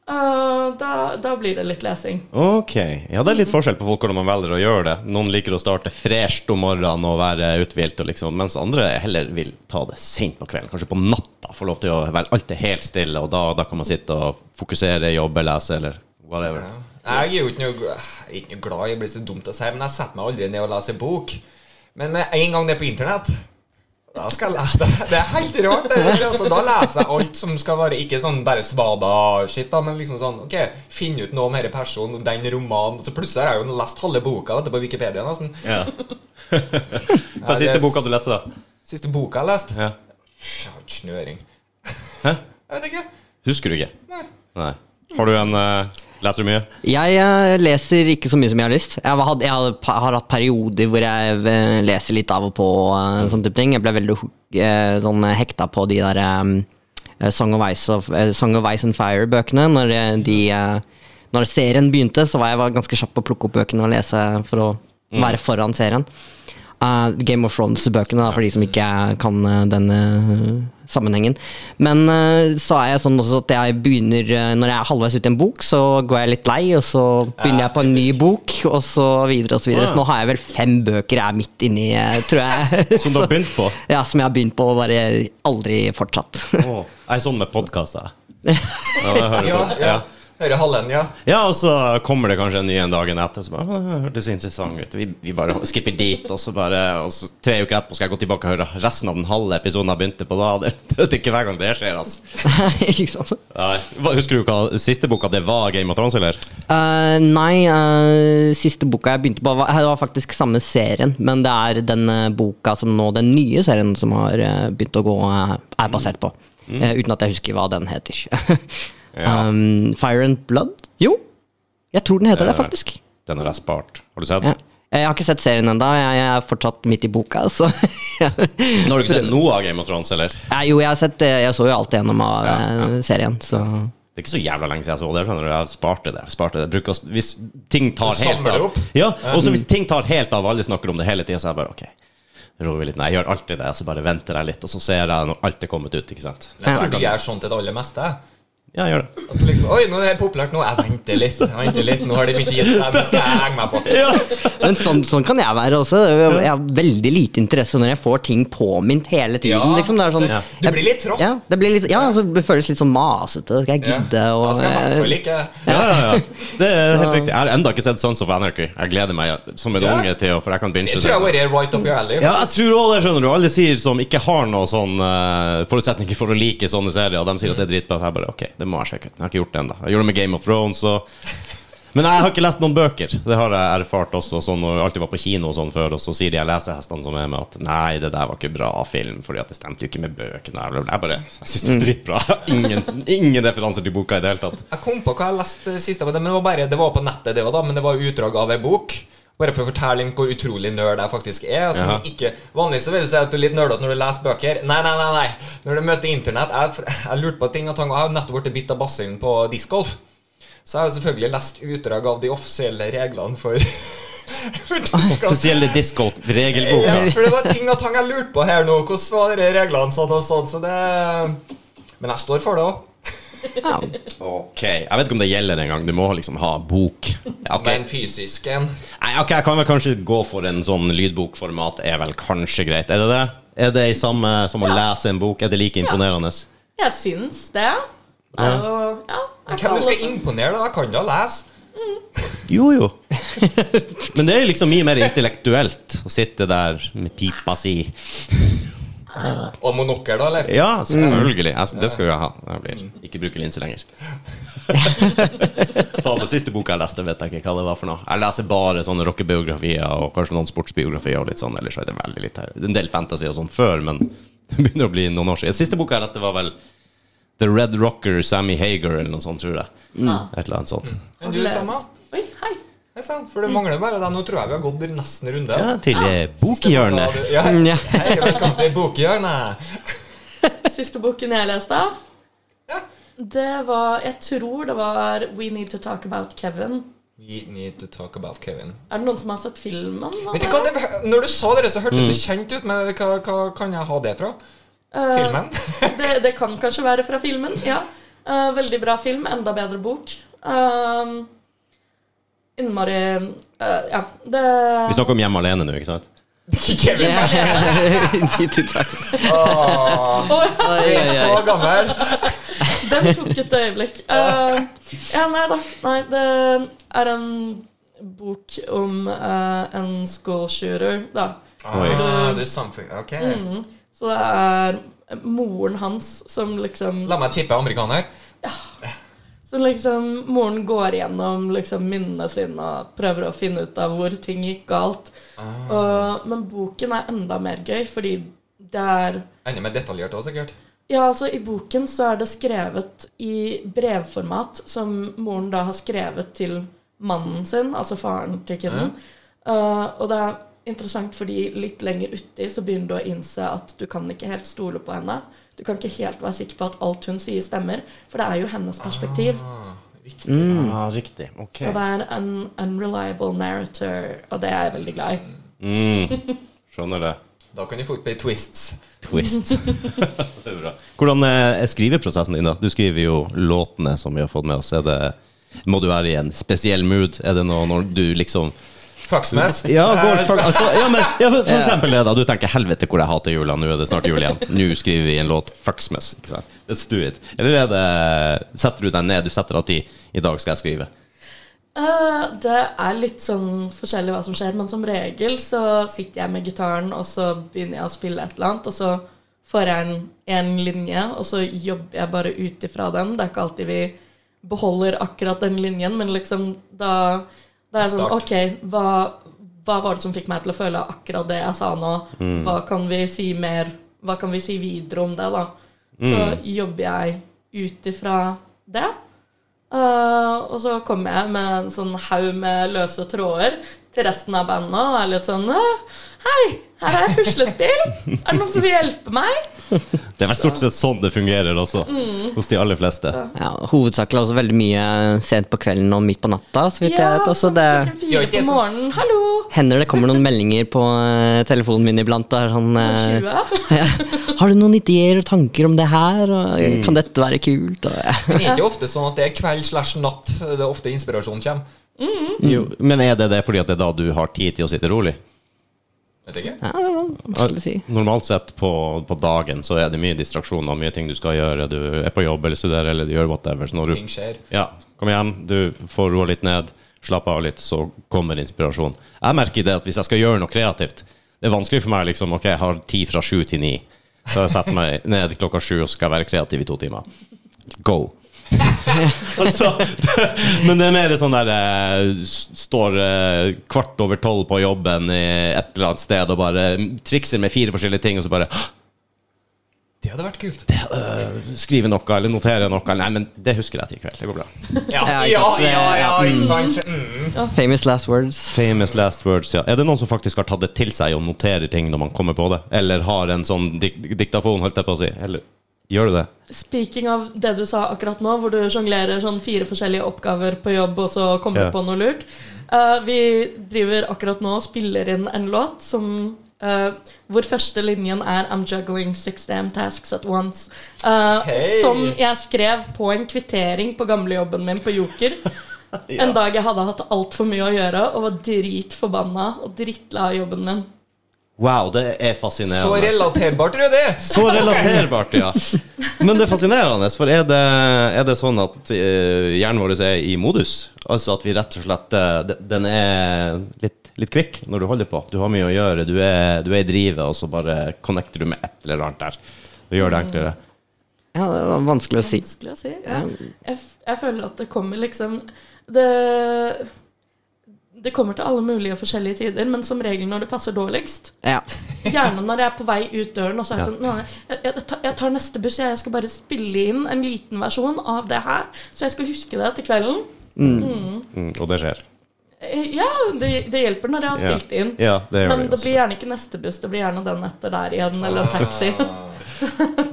Speaker 3: Eh, da, da blir det litt lesing.
Speaker 1: Ok, ja det er
Speaker 2: Mm.
Speaker 1: litt forskjell på folk hvordan man velger å gjøre det. Noen liker å starte fresht om morgenen og være uthvilt, og liksom, mens andre heller vil ta det sent på kvelden, kanskje på natta. Få lov til å være alt er helt stille, og da, da kan man sitte og fokusere, jobbe, lese eller whatever.
Speaker 2: Jeg er jo ikke noe, gl- ikke noe glad i å bli så dumt å si, men jeg setter meg aldri ned og leser bok. Men med en gang det er på internett, da skal jeg lese det. Det er helt rart. Det, der, altså, da leser jeg alt som skal være Ikke sånn bare svada-shit, da, men liksom sånn OK, finn ut noe om denne personen, den romanen Så plutselig har jeg jo lest halve boka dette på Wikipedia, nesten.
Speaker 1: Ja. Hva er siste boka du leste, da?
Speaker 2: Siste boka jeg har lest.
Speaker 1: Ja.
Speaker 2: Jeg har ikke snøring.
Speaker 1: Hæ?
Speaker 2: Jeg vet ikke.
Speaker 1: Husker du ikke?
Speaker 2: Nei.
Speaker 1: Nei. Har du en eh, Leser du mye?
Speaker 4: Jeg eh, leser ikke så mye som jeg har lyst. Jeg har hatt, jeg har- har hatt perioder hvor jeg eh, leser litt av og på. eh, Sånne type ting Jeg ble veldig hook- eh, sånn, eh, hekta på de der eh, Song of Ice, of, eh, Song of Ice and Fire-bøkene. Når, eh, de, eh, når serien begynte, så var jeg var ganske kjapp på å plukke opp bøkene og lese for å være foran serien. Eh, Game of Thrones-bøkene, da, for de som ikke kan eh, den eh, sammenhengen. Men eh, så er jeg sånn også at jeg begynner eh, Når jeg er halvveis ute i en bok, så går jeg litt lei, og så begynner jeg på en ny bok, og så videre og så videre. Så nå har jeg vel fem bøker jeg er midt inni, eh, tror jeg.
Speaker 1: Som du har begynt på?
Speaker 4: Ja, som jeg har begynt på og bare aldri fortsatt.
Speaker 1: Åh, Jeg er sånn med podkaster. Ja, jeg hører
Speaker 2: Ja,
Speaker 1: på.
Speaker 2: ja.
Speaker 1: Ja.
Speaker 2: Hører hallen, ja.
Speaker 1: Ja, og så kommer det kanskje en ny en dagen etter. Så bare, «Å, det hørtes interessant ut vi, vi bare skipper dit, og så bare og så Tre uker etterpå skal jeg gå tilbake og høre resten av den halve episoden jeg begynte på da. Det, det er ikke hver gang det skjer, altså.
Speaker 4: ikke sant?
Speaker 1: Nei. Hva- Husker du hva siste boka det var Game of Thrones, eller?
Speaker 4: Eh, nei, eh, siste boka jeg begynte på, var, det var faktisk samme serien. Men det er den eh, boka som nå, den nye serien som har eh, begynt å gå, eh, er basert på. Eh, uten at jeg husker hva den heter.
Speaker 1: Mm. Ja.
Speaker 4: um, Fire and Blood? Jo, jeg tror den heter det,
Speaker 1: Ja.
Speaker 4: faktisk.
Speaker 1: Den har jeg spart. Har du sett?
Speaker 4: Ja. Jeg har ikke sett serien ennå, jeg jeg er fortsatt midt i boka. Så.
Speaker 1: Nå har du ikke sett noe av Game of Thrones, eller?
Speaker 4: Nei, jo, jeg, har sett, eh, jeg så jo alt igjennom av
Speaker 1: Ja, ja.
Speaker 4: eh, serien, så
Speaker 1: Det er ikke så jævla lenge siden jeg så det. skjønner du Jeg sparte det. sparte det Bruker, å- Hvis ting tar
Speaker 2: Du
Speaker 1: helt
Speaker 2: samler det
Speaker 1: av
Speaker 2: opp.
Speaker 1: Ja, og så hvis ting tar helt av, alle snakker om det hele tida, så jeg bare OK. Roer vi litt ned. Jeg gjør alltid det. Så bare venter jeg litt, og så ser jeg når alt er kommet ut. Ikke sant?
Speaker 2: Jeg tror de gjør sånn til det aller meste.
Speaker 1: Ja, jeg gjør det.
Speaker 2: At liksom, Oi, nå er det her populært nå. Jeg venter litt. jeg venter litt Nå har de begynt å gi seg. Nå skal jeg henge meg på.
Speaker 4: Men sånn, sånn kan jeg være også. Jeg har veldig lite interesse når jeg får ting påminnet hele tiden.
Speaker 2: Ja,
Speaker 4: liksom. det er sånn,
Speaker 2: ja. Du blir litt trass.
Speaker 4: Ja, det, blir litt, ja altså, det føles litt sånn masete. Skal jeg
Speaker 2: Ja.
Speaker 4: gidde å
Speaker 2: Da skal jeg i hvert fall ikke
Speaker 1: Ja, ja, ja. Det er helt riktig. Jeg har ennå ikke sett Sons of Anarchy. Jeg gleder meg som en
Speaker 2: Ja.
Speaker 1: unge til å For jeg kan binge
Speaker 2: Jeg tror jeg har vært right up your alley.
Speaker 1: Ja, jeg tror også det, skjønner du. Alle sier som ikke har noen sånn eh, forutsetninger for å like sånne serier, de sier at det er dritbra. Så jeg bare OK, det må jeg sjekke ut. Jeg har ikke gjort det ennå. Jeg gjorde det med Game of Thrones og Men jeg har ikke lest noen bøker. Det har jeg erfart også, sånn når jeg alltid var på kino og sånn før, og så sier de jeg lesehestene som er med, at nei, det der var ikke bra film, fordi at det stemte jo ikke med bøkene. Jeg ble- Jeg bare Jeg syns det er dritbra. Ingen, ingen referanser til boka i det hele tatt.
Speaker 2: Jeg kom på hva jeg leste sist, men det var, bare, det var på nettet, det også da, men det var utdrag av ei bok. Bare for å fortelle litt hvor utrolig nerd jeg faktisk er. Altså,
Speaker 1: Ja.
Speaker 2: ikke, vanligvis så vil jeg si at du er litt nerdete når du leser bøker. Nei, nei, nei. nei. Når du møter internett Jeg, jeg lurte på ting og tang. og Jeg har nettopp blitt bitt av basillen på discgolf. Så jeg har jo selvfølgelig lest utdrag av de offisielle reglene for, for discgolf.
Speaker 1: Offisielle disco-regelboka.
Speaker 2: Yes, for det var ting og tang jeg lurte på her nå. Hvordan var de reglene sånn og sånn? Så det Men jeg står for det òg.
Speaker 4: Ja.
Speaker 1: Ok, Jeg vet ikke om det gjelder engang. Du må liksom ha bok. Ja, ok.
Speaker 2: Men fysisk en.
Speaker 1: Nei, ok, Jeg kan vel kanskje gå for en sånn lydbokformat. Er vel kanskje greit. Er det det? Er det i samme som å lese en bok? Er det like imponerende?
Speaker 3: Jeg syns det. Ja. Ja, jeg
Speaker 2: Hvem
Speaker 3: kan
Speaker 2: du skal
Speaker 3: også-
Speaker 2: imponere, da? Jeg kan da lese.
Speaker 1: Jo, jo. Men det er liksom mye mer intellektuelt å sitte der med pipa si.
Speaker 2: Og monokkel, da, eller?
Speaker 1: Ja, selvfølgelig. Jeg, det skal jo jeg ha. Jeg blir ikke bruke linse lenger. Faen, den siste boka jeg leste, vet jeg ikke hva det var for noe. Jeg leser bare sånne rockebiografier og kanskje noen sportsbiografier og litt sånn. Ellers er det veldig litt her. En del fantasy og sånn før, men det begynner å bli noen år siden. Siste boka jeg leste, var vel The Red Rocker, Sammy Hager eller noe sånt, tror jeg.
Speaker 3: Ja.
Speaker 1: Et eller annet sånt.
Speaker 2: Men du,
Speaker 3: Lest.
Speaker 2: Sanna?
Speaker 3: Mm. Oi, hei.
Speaker 2: det er sant, For det mangler bare deg. Nå tror jeg vi har gått nesten runde.
Speaker 1: Ja, til eh, bokhjørnet.
Speaker 2: Ja.
Speaker 4: Mm, ja.
Speaker 2: Hei, velkommen til Bokhjørnet.
Speaker 3: Siste boken jeg leste,
Speaker 2: Ja.
Speaker 3: det var Jeg tror det var We Need To Talk About Kevin.
Speaker 2: We need to talk about Kevin.
Speaker 3: Er det noen som har sett filmen? av
Speaker 2: Vet du
Speaker 3: det?
Speaker 2: hva, det, når du sa det, så hørtes
Speaker 1: Mm.
Speaker 2: det kjent ut, men hva, hva kan jeg ha det fra?
Speaker 3: Eh,
Speaker 2: Filmen?
Speaker 3: det, det kan kanskje være fra filmen, ja. Eh, veldig bra film, enda bedre bok. Um, innmari eh, Ja, det
Speaker 1: Vi snakker om Hjemme alene nå, ikke sant?
Speaker 2: Kevin
Speaker 4: Ja.
Speaker 2: Bacon. Åh,
Speaker 3: Å,
Speaker 4: Oi,
Speaker 2: jeg
Speaker 4: oi,
Speaker 2: er
Speaker 4: oi.
Speaker 2: så gammel.
Speaker 3: Den tok et øyeblikk. Eh, ja, nei da. Nei, det er en bok om eh, en school shooter, da.
Speaker 1: Oi.
Speaker 2: Ah, du er samfunn... Ok.
Speaker 3: Så det er moren hans som liksom
Speaker 2: La meg tippe amerikaner.
Speaker 3: Så liksom, moren går gjennom liksom, minnene sine og prøver å finne ut av hvor ting gikk galt. Og, men boken er enda mer gøy, fordi det er
Speaker 2: Enda mer detaljert òg, sikkert.
Speaker 3: Ja, altså, i boken så er det skrevet i brevformat, som moren da har skrevet til mannen sin, altså faren til kiden. Eh, og det er interessant fordi litt lenger uti så begynner du å innse at du kan ikke helt stole på henne. Du kan ikke helt være sikker på at alt hun sier, stemmer, for det er jo hennes perspektiv.
Speaker 2: Ah, riktig.
Speaker 1: Ja, Ah, riktig. Ok.
Speaker 3: Og det er en unreliable narrator, og det er jeg veldig glad i.
Speaker 1: Mm. Skjønner det.
Speaker 2: Da kan de fort bli twists.
Speaker 1: Twist. det er bra. Hvordan eh, er skriveprosessen din, da? Du skriver jo låtene som vi har fått med oss. Er det, må du være i en spesiell mood? Er det noe når du liksom
Speaker 2: Fucksmess.
Speaker 1: Ja, går,
Speaker 2: Eh,
Speaker 1: for, altså, ja, men, ja for, for eksempel det, da. Du tenker 'helvete, hvor jeg hater jula', nå er det snart jul igjen. Nå skriver vi en låt 'Fucksmess'. Ikke sant? Let's do it. Eller er det Setter du deg ned, du setter av tid. I dag skal jeg skrive.
Speaker 3: Eh, det er litt sånn forskjellig hva som skjer, men som regel så sitter jeg med gitaren, og så begynner jeg å spille et eller annet, og så får jeg en, en linje, og så jobber jeg bare ut ifra den. Det er ikke alltid vi beholder akkurat den linjen, men liksom da Da er jeg sånn
Speaker 2: Start.
Speaker 3: OK, hva, hva var det som fikk meg til å føle akkurat det jeg sa nå? Hva kan vi si mer? Hva kan vi si videre om det, da? Så jobber jeg ut ifra det. Eh, og så kommer jeg med en sånn haug med løse tråder til resten av bandet og er litt sånn «Åh, Hei, her er puslespill. Er det noen som vil hjelpe meg?
Speaker 1: Det er vel stort sett sånn det fungerer også, hos de aller fleste.
Speaker 4: Ja, hovedsakelig også veldig mye sent på kvelden og midt på natta, så vidt jeg vet. Også
Speaker 3: sånn
Speaker 4: det
Speaker 3: klokken
Speaker 2: Ja,
Speaker 3: fire
Speaker 2: ikke
Speaker 3: på
Speaker 2: sånn-
Speaker 3: morgenen. Hallo!
Speaker 4: hender det kommer noen meldinger på eh, telefonen min iblant. Og er sånn
Speaker 3: Sånn
Speaker 4: eh,
Speaker 3: 20.
Speaker 4: Har du noen ideer og tanker om det her? Og,
Speaker 2: Mm.
Speaker 4: Kan dette være kult? Og, ja.
Speaker 2: Men det er ikke ofte sånn at det er kveld slash natt eh, det er ofte inspirasjonen kommer.
Speaker 1: Jo, men er det det fordi at det er da du har tid til å sitte rolig?
Speaker 2: Vet ikke.
Speaker 4: Ja, det var vanskelig å si.
Speaker 1: Normalt sett på, på dagen så er det mye distraksjoner og mye ting du skal gjøre. Du er på jobb eller studerer eller du gjør whatever. Så når
Speaker 2: Ting
Speaker 1: du
Speaker 2: skjer.
Speaker 1: ja, kommer hjem, du får roa litt ned, slapp av litt, så kommer inspirasjon. Jeg merker det at hvis jeg skal gjøre noe kreativt Det er vanskelig for meg liksom, ok, jeg har tid fra sju til ni. Så jeg setter meg ned klokka sju og skal være kreativ i to timer. Go! altså, det, men det er mer sånn der eh, s- Står eh, kvart over tolv på jobben i et eller annet sted og bare trikser med fire forskjellige ting, og så bare øh,
Speaker 2: Det hadde vært kult.
Speaker 1: skriver noe eller noterer noe. Nei, men det husker jeg til i kveld. Det går bra.
Speaker 2: Ja, ja,
Speaker 4: Ja, ikke
Speaker 2: ja,
Speaker 4: sant?
Speaker 2: ja, ikke sant? Mm.
Speaker 4: Famous last words.
Speaker 1: Famous last words, ja. Er det noen som faktisk har tatt det til seg og noterer ting når man kommer på det? Eller har en sånn dik diktafon, holdt jeg på å si? Eller gjør du det?
Speaker 3: Speaking av det du sa akkurat nå, hvor du sjonglerer sånn fire forskjellige oppgaver på jobb, og så kommer
Speaker 1: Ja.
Speaker 3: du på noe lurt. Eh, vi driver akkurat nå og spiller inn en låt som eh, hvor første linjen er 'I'm juggling six damn tasks at once'. Eh,
Speaker 2: Hei!
Speaker 3: Som jeg skrev på en kvittering på gamlejobben min på Joker. En dag jeg hadde hatt altfor mye å gjøre og var dritforbanna og drittlei av jobben min.
Speaker 1: Wow, det er
Speaker 2: Så
Speaker 1: fascinerende.
Speaker 2: relaterbart, Rudi!
Speaker 1: Så relaterbart, ja. Men det er fascinerende, for er det, er det sånn at eh, hjernen vår er i modus? Altså at vi rett og slett eh, de- Den er litt, litt kvikk når du holder på. Du har mye å gjøre, du er, du er i drivet, og så bare connecter du med et eller annet der. Det gjør det enklere.
Speaker 4: Ja, det var vanskelig å si.
Speaker 3: Vanskelig å si. Ja. Jeg, f- jeg føler at det kommer liksom Det det kommer til alle mulige forskjellige tider, men som regel når det passer dårligst.
Speaker 4: Ja.
Speaker 3: Gjerne når jeg er på vei ut døren, og så er det
Speaker 1: Ja.
Speaker 3: sånn «Nei, jeg, jeg, tar- jeg tar neste buss, jeg. Jeg skal bare spille inn en liten versjon av det her, så jeg skal huske det til kvelden.
Speaker 1: Mm, og det skjer.
Speaker 3: Eh, Ja, det, det hjelper når jeg har
Speaker 1: Ja.
Speaker 3: spilt inn.
Speaker 1: Ja, det gjør
Speaker 3: Men
Speaker 1: det
Speaker 3: det
Speaker 1: også. Ah.
Speaker 3: blir gjerne ikke neste buss, det blir gjerne den etter der igjen, eller en taxi.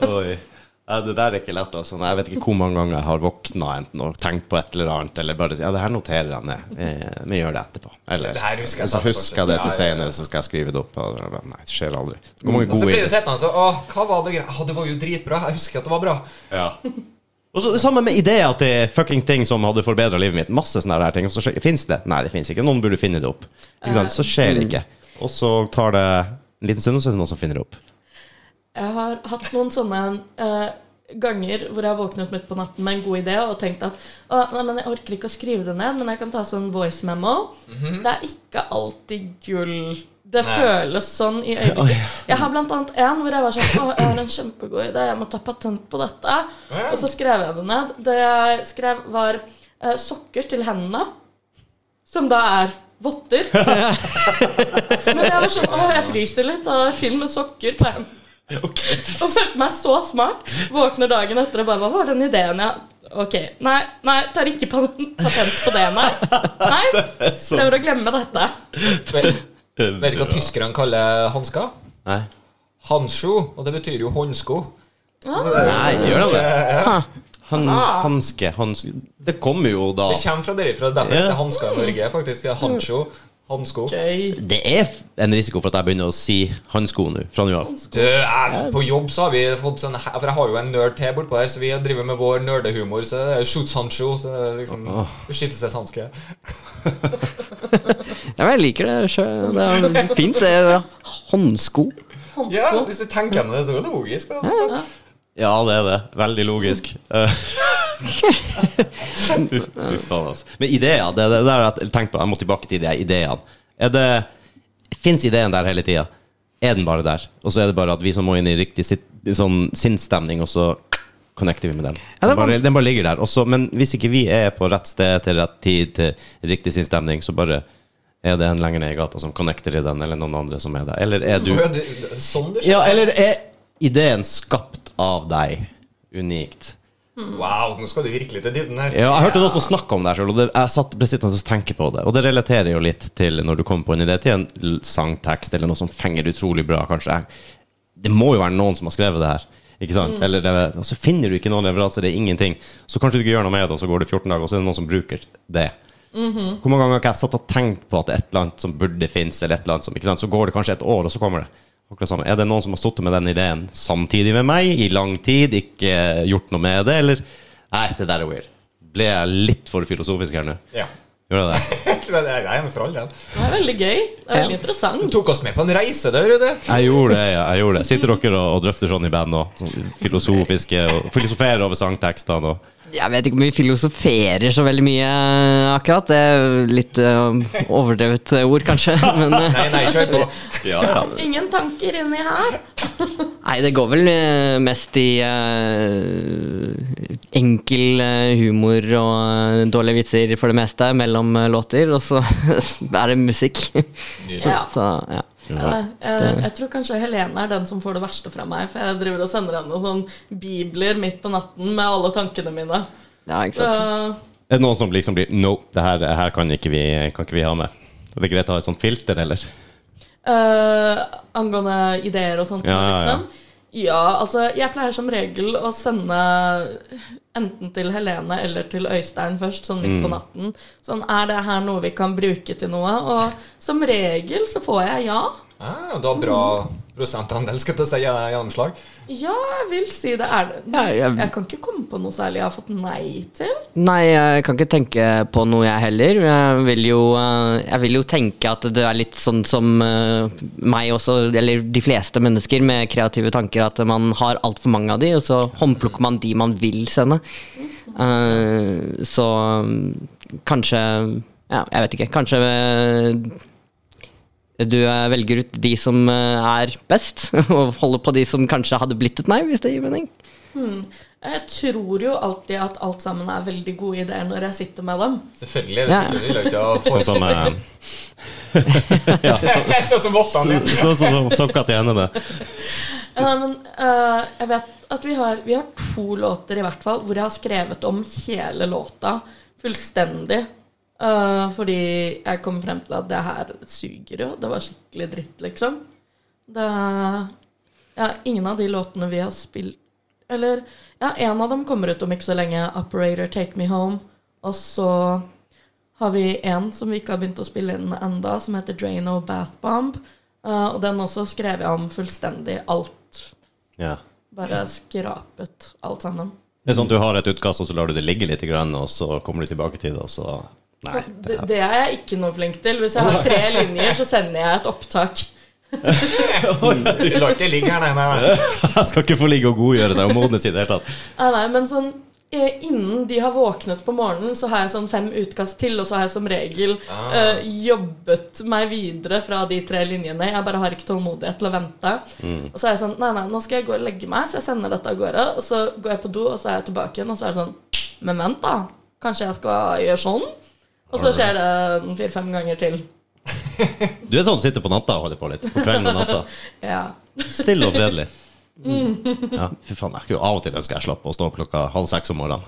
Speaker 1: Oi. Ja, det der er ikke lett, altså. Nei, Jeg vet ikke hvor mange ganger jeg har våkna enten og tenkt på et eller annet, eller bare Ja, det her noterer jeg ned. Eh, Vi gjør det etterpå. Eller
Speaker 2: Det her husker jeg
Speaker 1: så
Speaker 2: etterpå,
Speaker 1: husker jeg det til
Speaker 2: så- ja, ja, ja.
Speaker 1: senere, så skal jeg skrive det opp. og- Nei, det skjer aldri. Hvor mange
Speaker 2: Og så
Speaker 1: gode
Speaker 2: blir det
Speaker 1: ideer.
Speaker 2: sittende sånn Åh, hva var det greia? Å, det var jo dritbra. Jeg husker at det var bra.
Speaker 1: Ja. Og så det samme med ideer at det er fuckings ting som hadde forbedra livet mitt. Masse sånne der ting. Og så fins det. Nei, det fins ikke. Noen burde finne det opp. Ikke sant? Så
Speaker 2: Eh,
Speaker 1: skjer det ikke.
Speaker 2: mm.
Speaker 1: Og så tar det en liten stund, og så er det noen som finner det opp.
Speaker 3: Jeg har hatt noen sånne eh, ganger hvor jeg har våknet midt på natten med en god idé og tenkt at å, nei, men jeg orker ikke å skrive det ned, men jeg kan ta sånn voice memo. Det er ikke alltid gull. Det
Speaker 2: Mhm. Nei.
Speaker 3: føles sånn i øyeblikket. Jeg har blant annet en hvor jeg var sånn Å, jeg har en kjempegod idé, jeg må ta patent på dette.
Speaker 2: Ja.
Speaker 3: Og så skrev jeg det ned. Det jeg skrev, var eh, sokker til hendene, som da er votter. Men jeg var sånn Å, jeg fryser litt, og finn noen sokker på hendene. Og følte meg så smart. Våkner dagen etter og bare Hva var den ideen jeg Ok, nei, nei, tar ikke pan- patent på det, nei. Nei, Prøver å glemme dette.
Speaker 2: Vet vet du hva tyskerne kaller hansker?
Speaker 1: Nei.
Speaker 2: Handsjo, og det betyr jo håndsko.
Speaker 1: Nei, gjør han det?
Speaker 2: Ja, Ah.
Speaker 1: Han, hanske, hanske Det kommer jo da
Speaker 2: Det kommer fra derifra. Derfor
Speaker 1: Ja.
Speaker 2: heter det hansker i Norge, faktisk. Det er Handsjo. Handsko.
Speaker 3: Gøy.
Speaker 1: Det er f- en risiko for at jeg begynner å si hansko nå, fra nå av.
Speaker 2: Du, jeg, på jobb så har vi fått sånn For jeg har jo en nerd til bortpå her, så vi driver med vår nerdehumor. Så det er Shoots Handsjo. Så det er liksom Beskyttelseshanske.
Speaker 4: ja, men jeg liker det. sjø. Det er fint. Det er håndsko.
Speaker 2: Ja,
Speaker 3: Håndsko.
Speaker 2: hvis du tenker gjennom det, så er det logisk. Da, altså.
Speaker 1: Ja, det er det. Veldig logisk.
Speaker 4: Mm.
Speaker 1: Eh. Uff, Fy faen, altså. Men ideer, det, det der at, tenk på, jeg må tilbake til de her ideene. Er det Fins ideen der hele tida? Er den bare der? Og så er det bare at vi som må inn i riktig sitt, sånn sinnsstemning, og så connecter vi med den.
Speaker 4: Ja, det
Speaker 1: Den
Speaker 4: var-
Speaker 1: bare, den bare ligger der. Og så- men hvis ikke vi er på rett sted til rett tid til riktig sinnsstemning, så bare er det en lenger ned i gata som connecter i den, eller noen andre som er der. Eller er du
Speaker 2: Å, ja, du- Sånn det skjer.
Speaker 1: Ja, eller er ideen skapt av deg unikt?
Speaker 2: Wow, nå skal du virkelig til dybden her.
Speaker 1: Ja, jeg hørte noen som snakka om det her selv, og det, jeg satt besittende og tenkte på det. Og det relaterer jo litt til når du kommer på en idé til en l- sangtekst eller noe som fenger utrolig bra, kanskje. Jeg, det må jo være noen som har skrevet det her. Ikke sant? Eller det, og så finner du ikke noen leveranser, det er ingenting. Så kanskje du ikke gjør noe med det, og så går det 14 dager, og så er det noen som bruker det. Hvor mange ganger har ikke jeg satt og tenkt på at det er et eller annet som burde finnes, eller et eller annet som ikke sant? Så går det kanskje et år, og så kommer det. Akkurat samme. Er det noen som har sittet med den ideen samtidig med meg i lang tid, ikke eh, gjort noe med det, eller Nei, det der er weird. Ble jeg litt for filosofisk her nå?
Speaker 2: Ja.
Speaker 1: Gjorde jeg det?
Speaker 2: Men jeg er med for all del.
Speaker 3: Det er veldig gøy. Det er veldig
Speaker 2: Du
Speaker 3: interessant.
Speaker 2: tok oss med på en reise, da, Rudi.
Speaker 1: Jeg gjorde det, ja, jeg gjorde det. Sitter dere og, og drøfter sånn i band og sånn filosofiske og filosoferer over sangtekstene og
Speaker 4: Jeg vet ikke om vi filosoferer så veldig mye eh, akkurat. Det er litt eh, overdrevet eh, ord, kanskje. Men eh,
Speaker 2: Nei, nei, kjør på.
Speaker 1: Ja, ja.
Speaker 3: Ingen tanker inni her.
Speaker 4: nei, det går vel eh, mest i eh, enkel eh, humor og eh, dårlige vitser for det meste mellom eh, låter, og så er det musikk.
Speaker 3: Ja.
Speaker 4: Så ja.
Speaker 3: Eh, eh, jeg tror kanskje Helene er den som får det verste fra meg, for jeg driver og sender henne sånn bibler midt på natten med alle tankene mine. Eh,
Speaker 4: ja, ikke
Speaker 3: Så
Speaker 4: sant.
Speaker 1: Er det noen som liksom blir No, det her, her kan, ikke vi, kan ikke vi ha med. Er det greit å ha et sånt filter, eller? Sånn
Speaker 3: eh, angående ideer og sånt,
Speaker 1: Ja, ja, ja.
Speaker 3: liksom. Ja, altså, jeg pleier som regel å sende enten til Helene eller til Øystein først, sånn
Speaker 1: Mm.
Speaker 3: midt på natten. Sånn, er det her noe vi kan bruke til noe? Og som regel så får jeg ja.
Speaker 2: Ah, du har bra prosentandel, skal jeg til å si, eh, gjennomslag.
Speaker 3: Ja, jeg vil si det er det.
Speaker 4: Ja, jeg-
Speaker 3: Jeg kan ikke komme på noe særlig jeg har fått nei til.
Speaker 4: Nei, jeg kan ikke tenke på noe jeg heller. Jeg vil jo, eh, jeg vil jo tenke at du er litt sånn som eh, meg også, eller de fleste mennesker med kreative tanker, at man har altfor mange av de, og så håndplukker man de man vil sende. Eh, Så mm, kanskje Ja, jeg vet ikke. Kanskje eh, du eh, velger ut de som eh, er best, og holder på de som kanskje hadde blitt et nei, hvis det gir mening.
Speaker 3: Jeg tror jo alltid at alt sammen er veldig gode ideer når jeg sitter med dem.
Speaker 2: Selvfølgelig.
Speaker 4: Ja.
Speaker 2: Det ville jo ikke ha
Speaker 1: Sånn som eh,
Speaker 2: Sånn som Vottan
Speaker 1: Sånn
Speaker 2: din.
Speaker 1: som så, så, soppkatt i hendene.
Speaker 3: Ja, men eh, jeg vet at vi har, vi har to låter i hvert fall hvor jeg har skrevet om hele låta fullstendig. Eh, fordi jeg kom frem til at det her suger jo. Det var skikkelig dritt, liksom. Det Ja, ingen av de låtene vi har spilt Eller ja, en av dem kommer ut om ikke så lenge. 'Operator Take Me Home'. Og så har vi en som vi ikke har begynt å spille inn enda, som heter 'Draino Bath Bomb'. Eh, og den også skrev jeg om fullstendig alt.
Speaker 1: Ja.
Speaker 3: Bare skrapet alt sammen.
Speaker 1: Det er sånn at du har et utkast, og så lar du det ligge litt, grann, og så kommer du tilbake til det, og så Nei.
Speaker 3: Det, det er jeg ikke noe flink til. Hvis jeg har tre linjer, så sender jeg et opptak.
Speaker 2: Du la ikke ligge her, nei, nei. nei.
Speaker 1: Jeg skal ikke få ligge og godgjøre seg og modnes i det hele tatt.
Speaker 3: Nei, nei, men sånn eh, Innen de har våknet på morgenen, så har jeg sånn fem utkast til, og så har jeg som regel eh, jobbet meg videre fra de tre linjene. Jeg bare har ikke tålmodighet til å vente. Og så er jeg sånn Nei, nei, nå skal jeg gå og legge meg, så jeg sender dette av gårde. Og så går jeg på do, og så er jeg tilbake igjen, og så er det sånn Men vent, da. Kanskje jeg skal gjøre sånn? Og så skjer det mm, fire-fem ganger til.
Speaker 1: Du er sånn som sitter på natta og holder på litt. På kvelden og natta.
Speaker 3: Ja.
Speaker 1: Stille og fredelig. Ja, fy faen, jeg skulle av og til ønske jeg slapp å stå opp klokka halv seks om morgenen.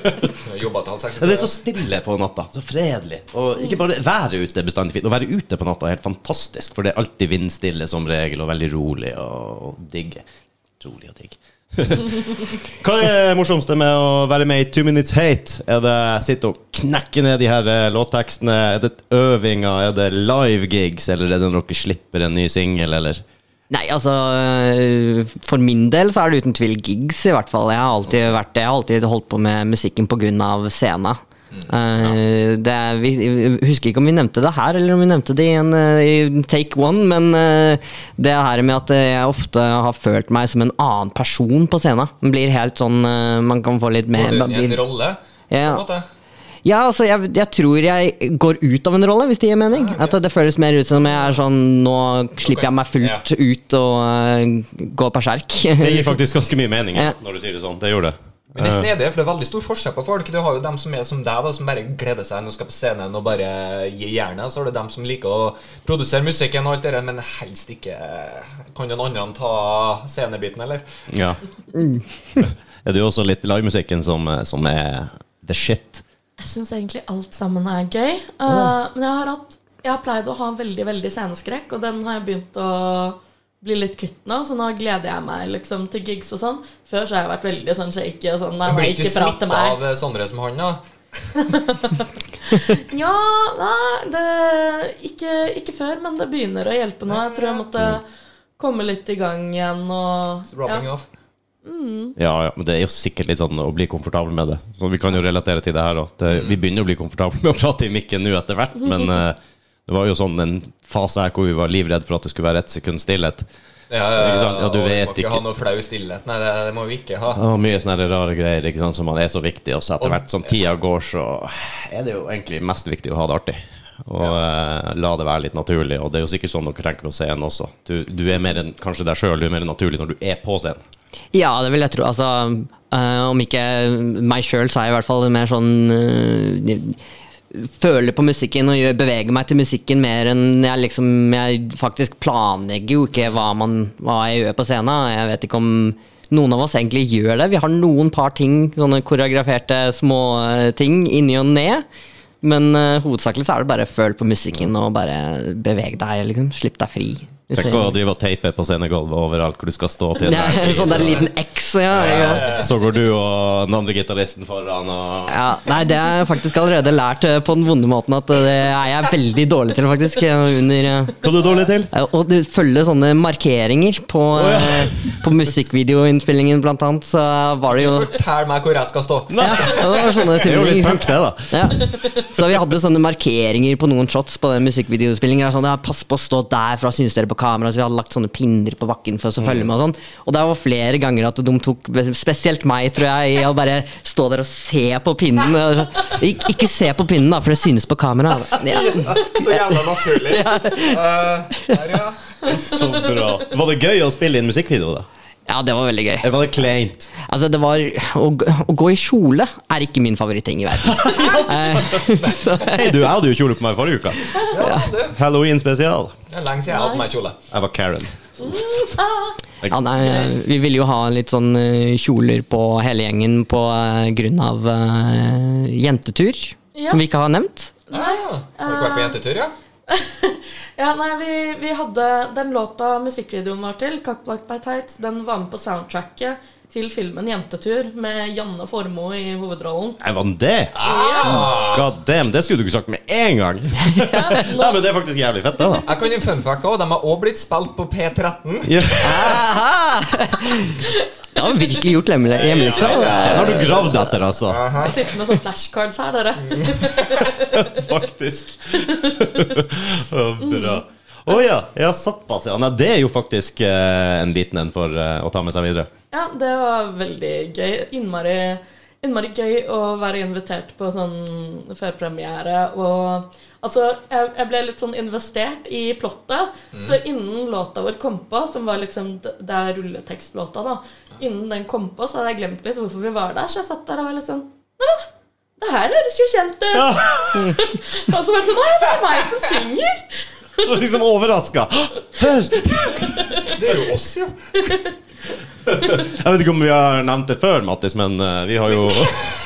Speaker 2: Jobba til halv seks.
Speaker 1: Ja, Det er så stille på natta. Så fredelig. Og ikke bare været ute er bestandig fint. Å være ute på natta er helt fantastisk, for det er alltid vindstille som regel, og veldig rolig og og digg. Rolig og digg. Hva er det morsomste med å være med i Two Minutes Hate? Er det sitte og knekke ned de her eh, låttekstene? Er det øvinger? Er det live gigs? Eller er det når dere slipper en ny singel, eller?
Speaker 4: Nei, altså øh, For min del så er det uten tvil gigs, i hvert fall. Jeg har alltid vært det. Jeg har alltid holdt på med musikken pga. scena.
Speaker 2: Mm.
Speaker 4: Eh, det, er- vi, jeg husker ikke om vi nevnte det her, eller om vi nevnte det i, en, eh, i Take One, men eh, det her med at eh, jeg ofte har følt meg som en annen person på scenen. Man blir helt sånn eh, Man kan få litt mer
Speaker 2: Går du i en
Speaker 4: blir-
Speaker 2: rolle, på
Speaker 4: Ja.
Speaker 2: en måte.
Speaker 4: ja, altså, jeg, jeg tror jeg går ut av en rolle, hvis det gir mening. At det føles mer ut som jeg er sånn Nå slipper jeg meg fullt ut og øh, går berserk.
Speaker 1: Det gir faktisk ganske mye mening
Speaker 4: Ja.
Speaker 1: når du sier det sånn. Det gjorde det.
Speaker 2: Men det er snedig, for det er veldig stor forskjell på folk. Du har jo dem som er som deg, da, som bare gleder seg når du skal på scenen og bare gi jernet. Så har du dem som liker å produsere musikken og alt det der, men helst ikke Kan noen andre ta scenebiten, eller?
Speaker 1: Ja. er det jo også litt livemusikken som, eh, som er the shit.
Speaker 3: Jeg syns egentlig alt sammen er gøy. Eh, Men jeg har hatt Jeg har pleid å ha veldig veldig sceneskrekk, og den har jeg begynt å bli litt kvitt nå, så nå gleder jeg meg liksom til gigs og sånn. Før så har jeg vært veldig sånn shaky og sånn Nei, nei,
Speaker 2: Blir ikke
Speaker 3: ikke prat
Speaker 2: smitta
Speaker 3: til meg.
Speaker 2: av eh, Sondre som han, da?
Speaker 3: Ja, nei, det, ikke, ikke før, men det begynner å hjelpe nå. Jeg tror jeg måtte komme litt i gang igjen og
Speaker 2: Mm. Rubbing
Speaker 3: ja.
Speaker 2: off.
Speaker 1: Ja, ja, men det er jo sikkert litt sånn å bli komfortabel med det. Så vi kan jo relatere til det her også. Det- Vi begynner å bli komfortable med å prate i mikken nå etter hvert, men eh, det var jo sånn en fase her hvor vi var livredd for at det skulle være ett sekund stillhet.
Speaker 2: Ja,
Speaker 1: Ikke sant? Ja, du
Speaker 2: og vi
Speaker 1: vet
Speaker 2: må
Speaker 1: ikke.
Speaker 2: ikke ha noe flau stillhet. Nei, det, det må vi ikke ha.
Speaker 1: Det var mye sånne her rare greier ikke sant, som man er så viktig, og så etter
Speaker 2: Og-
Speaker 1: hvert som tida går, så er det jo egentlig mest viktig å ha det artig. Og eh, la det være litt naturlig. Og det er jo sikkert sånn dere tenker på scenen også. Du, du er mer enn kanskje deg sjøl, du er mer naturlig når du er på scenen.
Speaker 4: Ja, det vil jeg tro. Altså, øh, om ikke meg sjøl, så er jeg i hvert fall mer sånn øh, Føler på musikken og gjør, beveger meg til musikken mer enn jeg liksom Jeg faktisk planlegger jo ikke hva, man, hva jeg gjør på scenen. Jeg vet ikke om noen av oss egentlig gjør det. Vi har noen par ting, sånne koreograferte små øh, ting inni og ned. Men øh, hovedsakelig så er det bare føl på musikken og bare beveg deg, liksom. Slipp deg fri. Hvis
Speaker 1: Tenk
Speaker 4: du-
Speaker 1: å drive og teipe på scenegulvet overalt hvor du skal stå til.
Speaker 4: ja,
Speaker 1: enhver tid.
Speaker 4: sånn der liten X, ja. ja.
Speaker 1: Så går du og den andre gitaristen foran og
Speaker 4: Ja, nei, det har jeg faktisk allerede lært eh, på den vonde måten at eh, det er jeg veldig dårlig til, faktisk. eh, Under eh,
Speaker 1: Hva er du dårlig til?
Speaker 4: eh, Å du- følge sånne markeringer på, eh, på musikkvideoinnspillingen, blant annet, så var det jo
Speaker 2: Fortell meg hvor jeg skal stå.
Speaker 4: ja, det var sånne
Speaker 1: Det er jo
Speaker 4: ting.
Speaker 1: litt
Speaker 4: ikke
Speaker 1: punk,
Speaker 4: sant?
Speaker 1: det, da.
Speaker 4: Ja. Så vi hadde sånne markeringer på noen shots på den musikkvideospillingen. Sånn, ja, pass på å stå der, for da syns dere på kamera. Så vi hadde lagt sånne pinner på bakken for oss å følge med og sånn. Og det var flere ganger at de tok, spesielt meg, tror jeg, i å bare stå der og se på pinnen. og sånn, Ik ikke se på pinnen, da, for det synes på kamera. Ja.
Speaker 2: Så jævla naturlig. Eh, her, ja.
Speaker 1: Så bra. Var det gøy å spille inn musikkvideo, da?
Speaker 4: ja, det var veldig gøy.
Speaker 1: Eller var det kleint?
Speaker 4: Altså, det var Å, g- å gå i kjole er ikke min favoritting i verden. Eh, så,
Speaker 1: Hei, du, jeg hadde jo kjole på meg forrige uke.
Speaker 2: ja, du.
Speaker 1: Halloween spesial.
Speaker 2: Det er lenge siden jeg har hatt på meg kjole.
Speaker 1: Jeg var Karen.
Speaker 4: Ja, nei, vi ville jo ha litt sånn eh, kjoler på hele gjengen på eh, grunn av eh, jentetur,
Speaker 3: Ja.
Speaker 4: som vi ikke har nevnt.
Speaker 2: Ja. Har du ikke vært
Speaker 3: Eh.
Speaker 2: på jentetur, ja?
Speaker 3: Ja, nei, vi, vi hadde den låta musikkvideoen var til, 'Kakkblakt by Tights', den var med på soundtracket til filmen 'Jentetur' med Janne Formoe i hovedrollen.
Speaker 1: Jeg var det?
Speaker 2: Ah.
Speaker 1: God damn, det skulle du ikke sagt med en gang. Nei, men det er faktisk jævlig fett, det, da.
Speaker 2: Jeg kan gi en fun fact også, De har også blitt spilt på P13.
Speaker 1: Ja.
Speaker 4: Det har vi virkelig gjort hjemme- hjemmefra.
Speaker 1: Den har du gravd etter, altså.
Speaker 3: Jeg sitter med sånne flashcards her, dere.
Speaker 1: Faktisk. Så Bra. Å ja, ja, såpass, ja. Nei, det er jo faktisk eh, en liten en for eh, å ta med seg videre.
Speaker 3: Ja, det var veldig gøy. Innmari, innmari gøy å være invitert på sånn førpremiere. Og altså, jeg, jeg ble litt sånn investert i plottet. Så innen låta vår kom på, som var liksom d- Det er rulletekstlåta, da. Innen den kom på, så hadde jeg glemt litt hvorfor vi var der. Så jeg satt der og var litt sånn Neimen, det her høres jo kjent ut! og så var det sånn Å, det er meg som synger!
Speaker 1: Du var liksom overraska. Hør!
Speaker 2: Det er jo oss, jo.
Speaker 1: Jeg vet ikke om vi har nevnt det før, Mattis, men eh, vi har jo,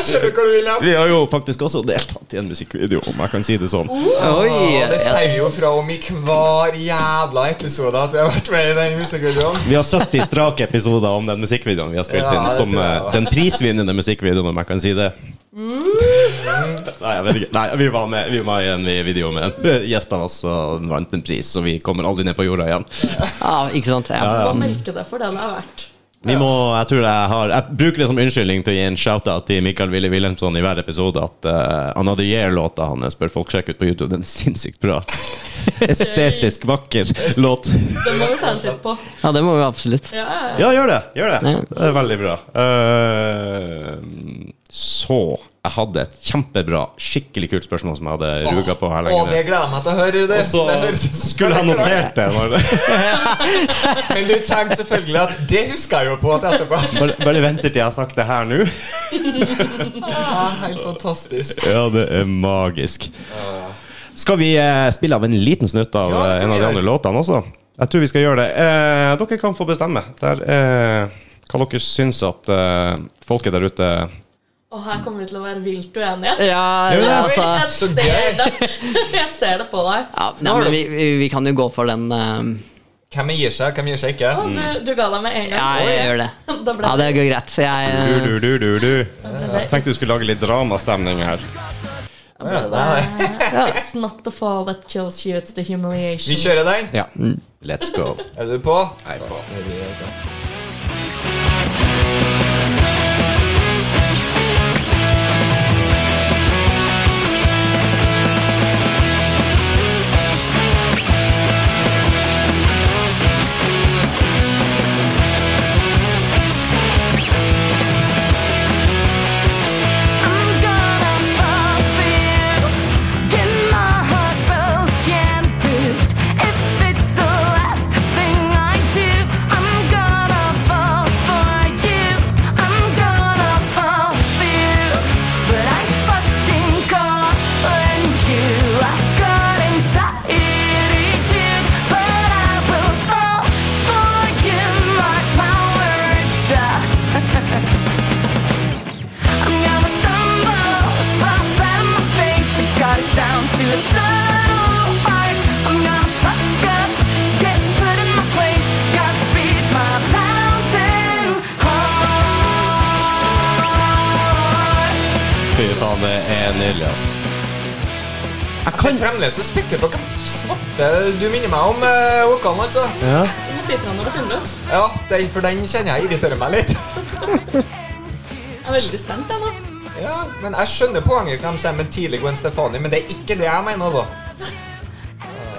Speaker 2: Jeg skjønner hva du vil hen.
Speaker 1: vi har jo faktisk også deltatt i en musikkvideo, om jeg kan si det sånn.
Speaker 4: Oi,
Speaker 2: Å, Det
Speaker 4: ja.
Speaker 2: sier jo fra om i hver jævla episode at vi har vært med i den musikkvideoen.
Speaker 1: Vi har 70 strake episoder om den musikkvideoen vi har spilt
Speaker 2: Ja,
Speaker 1: inn.
Speaker 2: det
Speaker 1: Som
Speaker 2: tror jeg
Speaker 1: eh,
Speaker 2: også.
Speaker 1: den prisvinnende musikkvideoen, om jeg kan si det.
Speaker 2: Mm.
Speaker 1: Nei, jeg vet ikke. Nei, vi var med, vi var i en video med en gjest av oss, og den vant en pris, så vi kommer aldri ned på jorda igjen.
Speaker 4: ja, ikke sant.
Speaker 3: Må
Speaker 4: Ja.
Speaker 3: melke det for det det er verdt.
Speaker 1: Vi må, jeg tror jeg har Jeg bruker det som unnskyldning til å gi en shout-out til Mikael Wille Wilhelmsson i hver episode at eh, Another Year-låta hans bør folk sjekke ut på YouTube. Den er sinnssykt bra. Estetisk vakker låt.
Speaker 3: Det må vi ta en titt på.
Speaker 4: ja, det må vi absolutt.
Speaker 3: Ja, ja.
Speaker 1: Ja, gjør det. Gjør det.
Speaker 4: Ja.
Speaker 1: det er veldig bra. Eh, så jeg hadde et kjempebra, skikkelig kult spørsmål som jeg hadde ruga på her
Speaker 2: Å,
Speaker 1: lenge.
Speaker 2: det gleder jeg meg til å høre. Det,
Speaker 1: Og så
Speaker 2: det høres-
Speaker 1: skulle jeg notert det. Når det.
Speaker 2: Men du tenkte selvfølgelig at det husker jeg jo på til etterpå.
Speaker 1: Bare, bare venter til jeg har sagt det her nå.
Speaker 2: Ja, helt fantastisk.
Speaker 1: Ja, det er magisk. Skal vi eh, spille av en liten snutt av
Speaker 2: Ja, det
Speaker 1: eh,
Speaker 2: kan
Speaker 1: en av
Speaker 2: vi
Speaker 1: de
Speaker 2: gjøre.
Speaker 1: andre låtene også? Jeg tror vi skal gjøre det. Eh, dere kan få bestemme. Der, eh, hva dere syns at eh, folket der ute
Speaker 3: Og her kommer vi til å være vilt uenige.
Speaker 4: Ja,
Speaker 1: Jo, ja.
Speaker 4: altså
Speaker 3: Jeg
Speaker 2: Så
Speaker 3: ser
Speaker 2: gøy.
Speaker 3: det. Jeg ser det på deg.
Speaker 4: ja, nei, men vi, vi, vi kan jo gå for den eh,
Speaker 2: Hvem gir seg, hvem gir seg ikke?
Speaker 3: Å, du, du ga deg med en gang.
Speaker 4: Ja, jeg
Speaker 3: Oi.
Speaker 4: gjør det.
Speaker 3: Da ble
Speaker 4: Ja, det går greit. Så jeg eh,
Speaker 1: Du-du-du-du-du.
Speaker 3: det-
Speaker 1: Jeg tenkte du skulle lage litt dramastemning her.
Speaker 2: Ja, nei, nei.
Speaker 4: eh,
Speaker 3: It's not the fall that kills you, it's the humiliation.
Speaker 2: Vi kjører den.
Speaker 1: Ja. Let's go.
Speaker 2: Er du på?
Speaker 1: Jeg er på.
Speaker 6: I'm gonna fall Get my heart broken, bruised. If it's the last thing I do, I'm gonna fall for you. I'm gonna fall for you, but I fucking calling you. I couldn't attitude, but I will fall for you. Mark my words. uh, I'm gonna stumble, fall flat on my face. I got it down to a subtle art. I'm gonna fuck up, get put in my place. Godspeed, my mountain heart.
Speaker 1: Fy faen, det er nydelig, ass.
Speaker 2: Jeg kan fremdeles så spekke på hvem svarte du minner meg om, eh, Håkan. altså.
Speaker 3: Du må si fra når du finner det ut.
Speaker 2: Ja, den, for den kjenner jeg irriterer meg litt.
Speaker 3: Jeg er veldig spent, jeg nå.
Speaker 2: Ja, men Jeg skjønner poenget hvem som er med tidlig Gwen Stefani, men det er ikke det jeg mener. altså.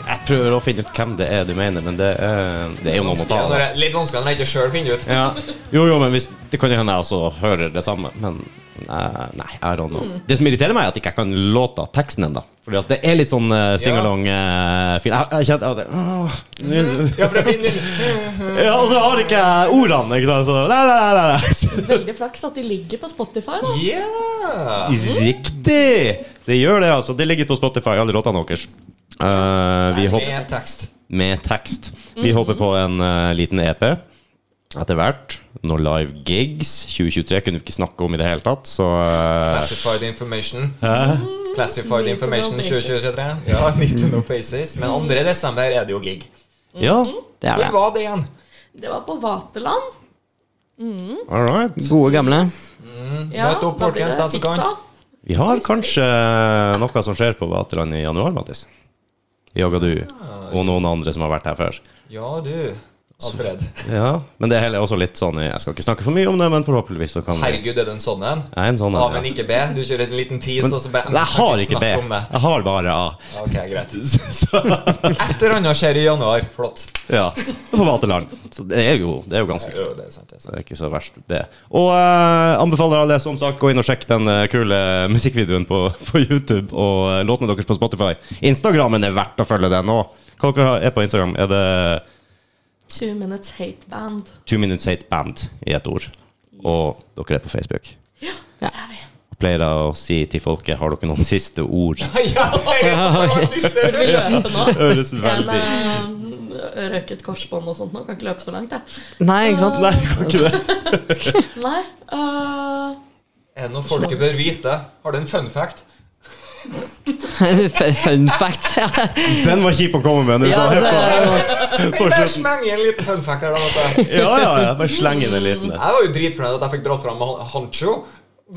Speaker 1: Jeg prøver å finne ut hvem det er du mener, men det, er- det er jo noen å ta
Speaker 2: Vanskelig
Speaker 1: av.
Speaker 2: når jeg- Litt vanskelig når jeg ikke sjøl finner ut.
Speaker 1: Ja. Jo, jo, men hvis, det kan jo hende jeg også hører det samme, men eh, nei, I don't know. Det som irriterer meg, er at jeg ikke kan låta teksten ennå. Fordi at det er litt sånn uh, singalong-film. jeg, jeg kjente at det- åh, nu-
Speaker 2: Ja, for det blir ny-
Speaker 1: Ja, og så har ikke jeg ordene, ikke sant. Så, nei, nei, nei, nei.
Speaker 3: Veldig flaks at de ligger på Spotify, da.
Speaker 2: Yeah!
Speaker 1: Riktig! Det gjør det, altså. Det ligger på Spotify, alle låtene deres. Eh, vi håper
Speaker 2: Med tekst.
Speaker 1: med tekst.
Speaker 2: Mhm.
Speaker 1: Vi håper på en eh, liten EP etter hvert. Noen live gigs. 2023 kunne vi ikke snakke om i det hele tatt, så eh,
Speaker 2: Classified information.
Speaker 3: Need
Speaker 2: Classified
Speaker 3: to
Speaker 2: information
Speaker 3: know basis.
Speaker 2: 2023. Ja, need to know paces. Men 2. desember er det jo gig.
Speaker 1: Ja,
Speaker 2: Mhm.
Speaker 4: Det er
Speaker 2: Hvor
Speaker 4: det.
Speaker 2: var det igjen?
Speaker 3: Det var på Vaterland.
Speaker 1: all right.
Speaker 4: Gode, gamle.
Speaker 2: Møt opp, folkens, den som kan.
Speaker 1: Vi har kanskje noe som skjer på Vaterland i januar, Mattis. Jaga du
Speaker 2: Ah.
Speaker 1: og noen andre som har vært her før.
Speaker 2: Ja, du. Alfred.
Speaker 1: Ja, Men det er heller også litt sånn Jeg skal ikke snakke for mye om det, men forhåpentligvis så kan vi
Speaker 2: Herregud, er det en sånn en?
Speaker 1: Jeg er en sånn
Speaker 2: A,
Speaker 1: en,
Speaker 2: men
Speaker 1: ja.
Speaker 2: ikke B. Du kjører en liten tease,
Speaker 1: Men
Speaker 2: og så bare
Speaker 1: jeg har ikke B.
Speaker 2: snakk om det.
Speaker 1: Jeg har bare A.
Speaker 2: Ok, greit.
Speaker 1: Så,
Speaker 2: Et eller annet skjer i januar. Flott.
Speaker 1: ja. På Vaterland. Så det er jo, det er jo ganske
Speaker 2: Jo, det er sant, det er sant.
Speaker 1: Det er ikke så verst, det. Og eh, anbefaler alle som sagt gå inn og sjekke den eh, kule musikkvideoen på, på YouTube og eh, låtene deres på Spotify. Instagrammen er verdt å følge den òg. Hva dere har- er på Instagram? Er det
Speaker 3: Two Minutes Hate Band.
Speaker 1: Two Minutes Hate Band i ett ord? Og dere er på Facebook.
Speaker 3: Det er vi.
Speaker 1: Pleier jeg å si til folket har dere noen siste ord?
Speaker 2: Ja, det er så
Speaker 3: Du
Speaker 2: dystert!
Speaker 3: vil løpe nå?
Speaker 1: Høres
Speaker 3: Jeg
Speaker 1: veldig
Speaker 3: har røket korsbånd og sånt nå. Kan ikke løpe så langt, jeg.
Speaker 4: Nei, ikke sant?
Speaker 1: Nei, kan ikke det.
Speaker 3: Nei. øh,
Speaker 2: Er det noe folket bør vite? Har du en fun fact?
Speaker 4: Fun- Fun fact. Ja,
Speaker 1: Den var kjip å komme med. Du
Speaker 4: ja,
Speaker 1: sa helt på,
Speaker 4: altså,
Speaker 2: Vi
Speaker 1: på
Speaker 2: bare
Speaker 1: slutten.
Speaker 2: slenger en liten fun fact her, da. vet du.
Speaker 1: Ja, ja, ja. Bare sleng inn en liten en.
Speaker 2: Jeg var jo dritfornøyd at jeg fikk dratt fram han- Hancho.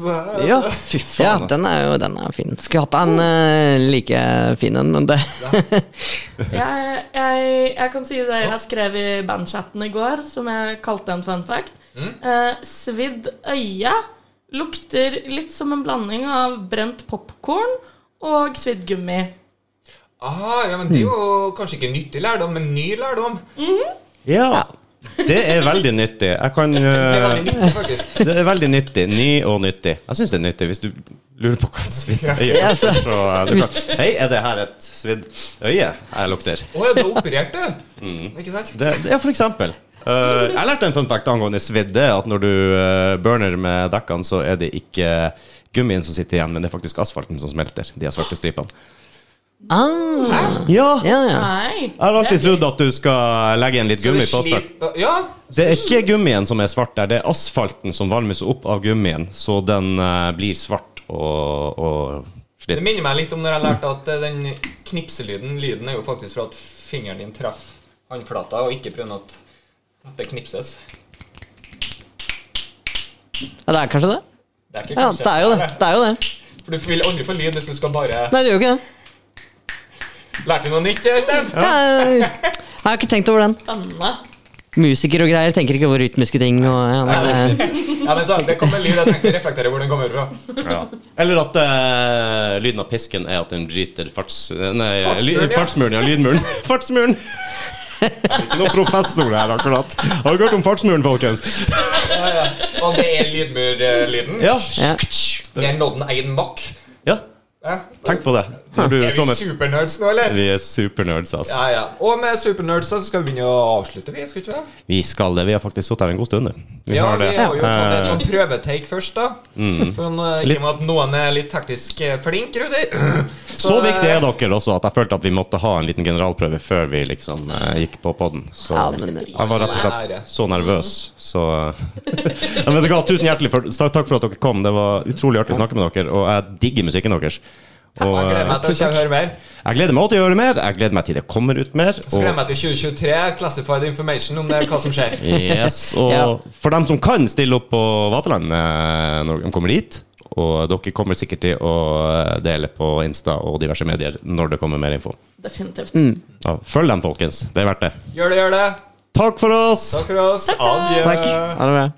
Speaker 2: Så-
Speaker 1: Ja, fy
Speaker 4: ja
Speaker 1: faen.
Speaker 4: den er jo den er fin. Skulle hatt en eh, like fin en, men det
Speaker 3: jeg, jeg, jeg kan si det jeg skrev i bandchatten i går, som jeg kalte en fun fact. Eh, svidd øye lukter litt som en blanding av brent popkorn og svidd gummi.
Speaker 2: Ah, ja, men det er jo kanskje ikke nyttig lærdom, men ny lærdom.
Speaker 1: Ja. Det er veldig nyttig. Jeg kan
Speaker 2: Det er
Speaker 1: eh,
Speaker 2: veldig nyttig, faktisk.
Speaker 1: Det er veldig nyttig. Ny og nyttig. Jeg syns det er nyttig hvis du lurer på hva et svidd øye er.
Speaker 4: Ja, altså.
Speaker 1: Så eh, er du klar. Hei, er det her et svidd øye jeg lukter?
Speaker 2: Å ja, du har operert, du? Ikke sant?
Speaker 1: Mm. Det, det er for eksempel. Eh, jeg lærte en fun fact angående svidd. Det er at når du eh, burner med dekkene, så er det ikke gummien som sitter igjen, men det er faktisk asfalten som smelter. De her svarte stripene.
Speaker 4: Ah,
Speaker 1: Ja!
Speaker 4: ja, ja.
Speaker 3: Nei.
Speaker 1: Jeg har alltid trodd at du skal legge igjen litt
Speaker 2: Så
Speaker 1: gummi
Speaker 2: det
Speaker 1: på asfalt.
Speaker 2: slip- Ja.
Speaker 1: Det er ikke gummien som er svart der, det er asfalten som varmes opp av gummien, så den eh, blir svart og, og
Speaker 2: Det
Speaker 1: slitt.
Speaker 2: minner meg litt om når jeg lærte at eh, den knipselyden Lyden er jo faktisk fra at fingeren din treffer håndflata, og ikke pga. at at det knipses.
Speaker 4: ja, det er kanskje det?
Speaker 2: Det er ikke
Speaker 4: Ja,
Speaker 2: kanskje.
Speaker 4: det er jo det. det, er jo det.
Speaker 2: For du vil aldri få lyd hvis du skal bare
Speaker 4: Nei, det gjør jo ikke det.
Speaker 2: Lærte du noe nytt, Øystein?
Speaker 4: Jeg, jeg har ikke tenkt over den.
Speaker 3: Spennende.
Speaker 4: Musiker og greier tenker ikke over rytmiske ting. Og, ja, nei, det,
Speaker 2: Ja, men så, det kommer lyd. Jeg tenkte å reflektere hvor den kommer fra.
Speaker 1: Ja. Eller at eh, lyden av pisken er at den bryter farts... Nei, ly,
Speaker 2: Fartsmuren, ja.
Speaker 1: fartsmuren, ja. Lydmuren. Fartsmuren! Ikke noe professor her, akkurat. Har dere hørt om fartsmuren, folkens?
Speaker 2: Ja, ja. Og det er lydmurlyden.
Speaker 1: Ja.
Speaker 4: ja.
Speaker 2: Det er nådden én makk.
Speaker 1: ja.
Speaker 2: Ja.
Speaker 1: Tenk på det. Når du
Speaker 2: Er
Speaker 1: slår
Speaker 2: vi
Speaker 1: med
Speaker 2: supernerds nå, eller?
Speaker 1: Vi er supernerds, ass.
Speaker 2: Ja, ja. Og med supernerds så skal vi begynne å avslutte, vi. Skal vi ikke det?
Speaker 1: Vi skal det. Vi har faktisk sittet her en god stund, du. Vi
Speaker 2: Ja,
Speaker 1: har
Speaker 2: vi
Speaker 1: det.
Speaker 2: har jo tatt et
Speaker 1: Eh, Mm.
Speaker 2: sånn prøvetake først, da. For nå, I
Speaker 1: Litt-
Speaker 2: og med at noen er litt teknisk eh, flink, Rudi. eh,
Speaker 1: Så,
Speaker 4: eh,
Speaker 1: viktig er dere også at jeg følte at vi måtte ha en liten generalprøve før vi liksom eh, gikk på podden. Så
Speaker 4: Ja, men-
Speaker 1: jeg var rett og slett så nervøs,
Speaker 2: Mm.
Speaker 1: så eh, ja, men vet du hva, Tusen hjertelig for, ta- takk for at dere kom. Det var utrolig artig å snakke med dere, og jeg digger musikken deres. Og
Speaker 2: Jeg gleder
Speaker 1: eh,
Speaker 2: meg til å ikke høre mer.
Speaker 1: jeg gleder meg til å gjøre mer. Jeg gleder meg til det kommer ut mer.
Speaker 2: Så gleder jeg
Speaker 1: Og,
Speaker 2: meg til 2023, classified information om det, hva som skjer.
Speaker 1: yes,
Speaker 4: Ja.
Speaker 1: og for dem som kan stille opp på Vaterland eh, når de kommer dit, og dere kommer sikkert til å eh, dele på Insta og diverse medier når det kommer mer info.
Speaker 3: Definitivt.
Speaker 1: Ja, følg dem, folkens. Det er verdt det.
Speaker 2: Gjør det, gjør det.
Speaker 1: Takk for oss!
Speaker 2: Takk for oss. Adjø.
Speaker 4: Takk. Ha det bra.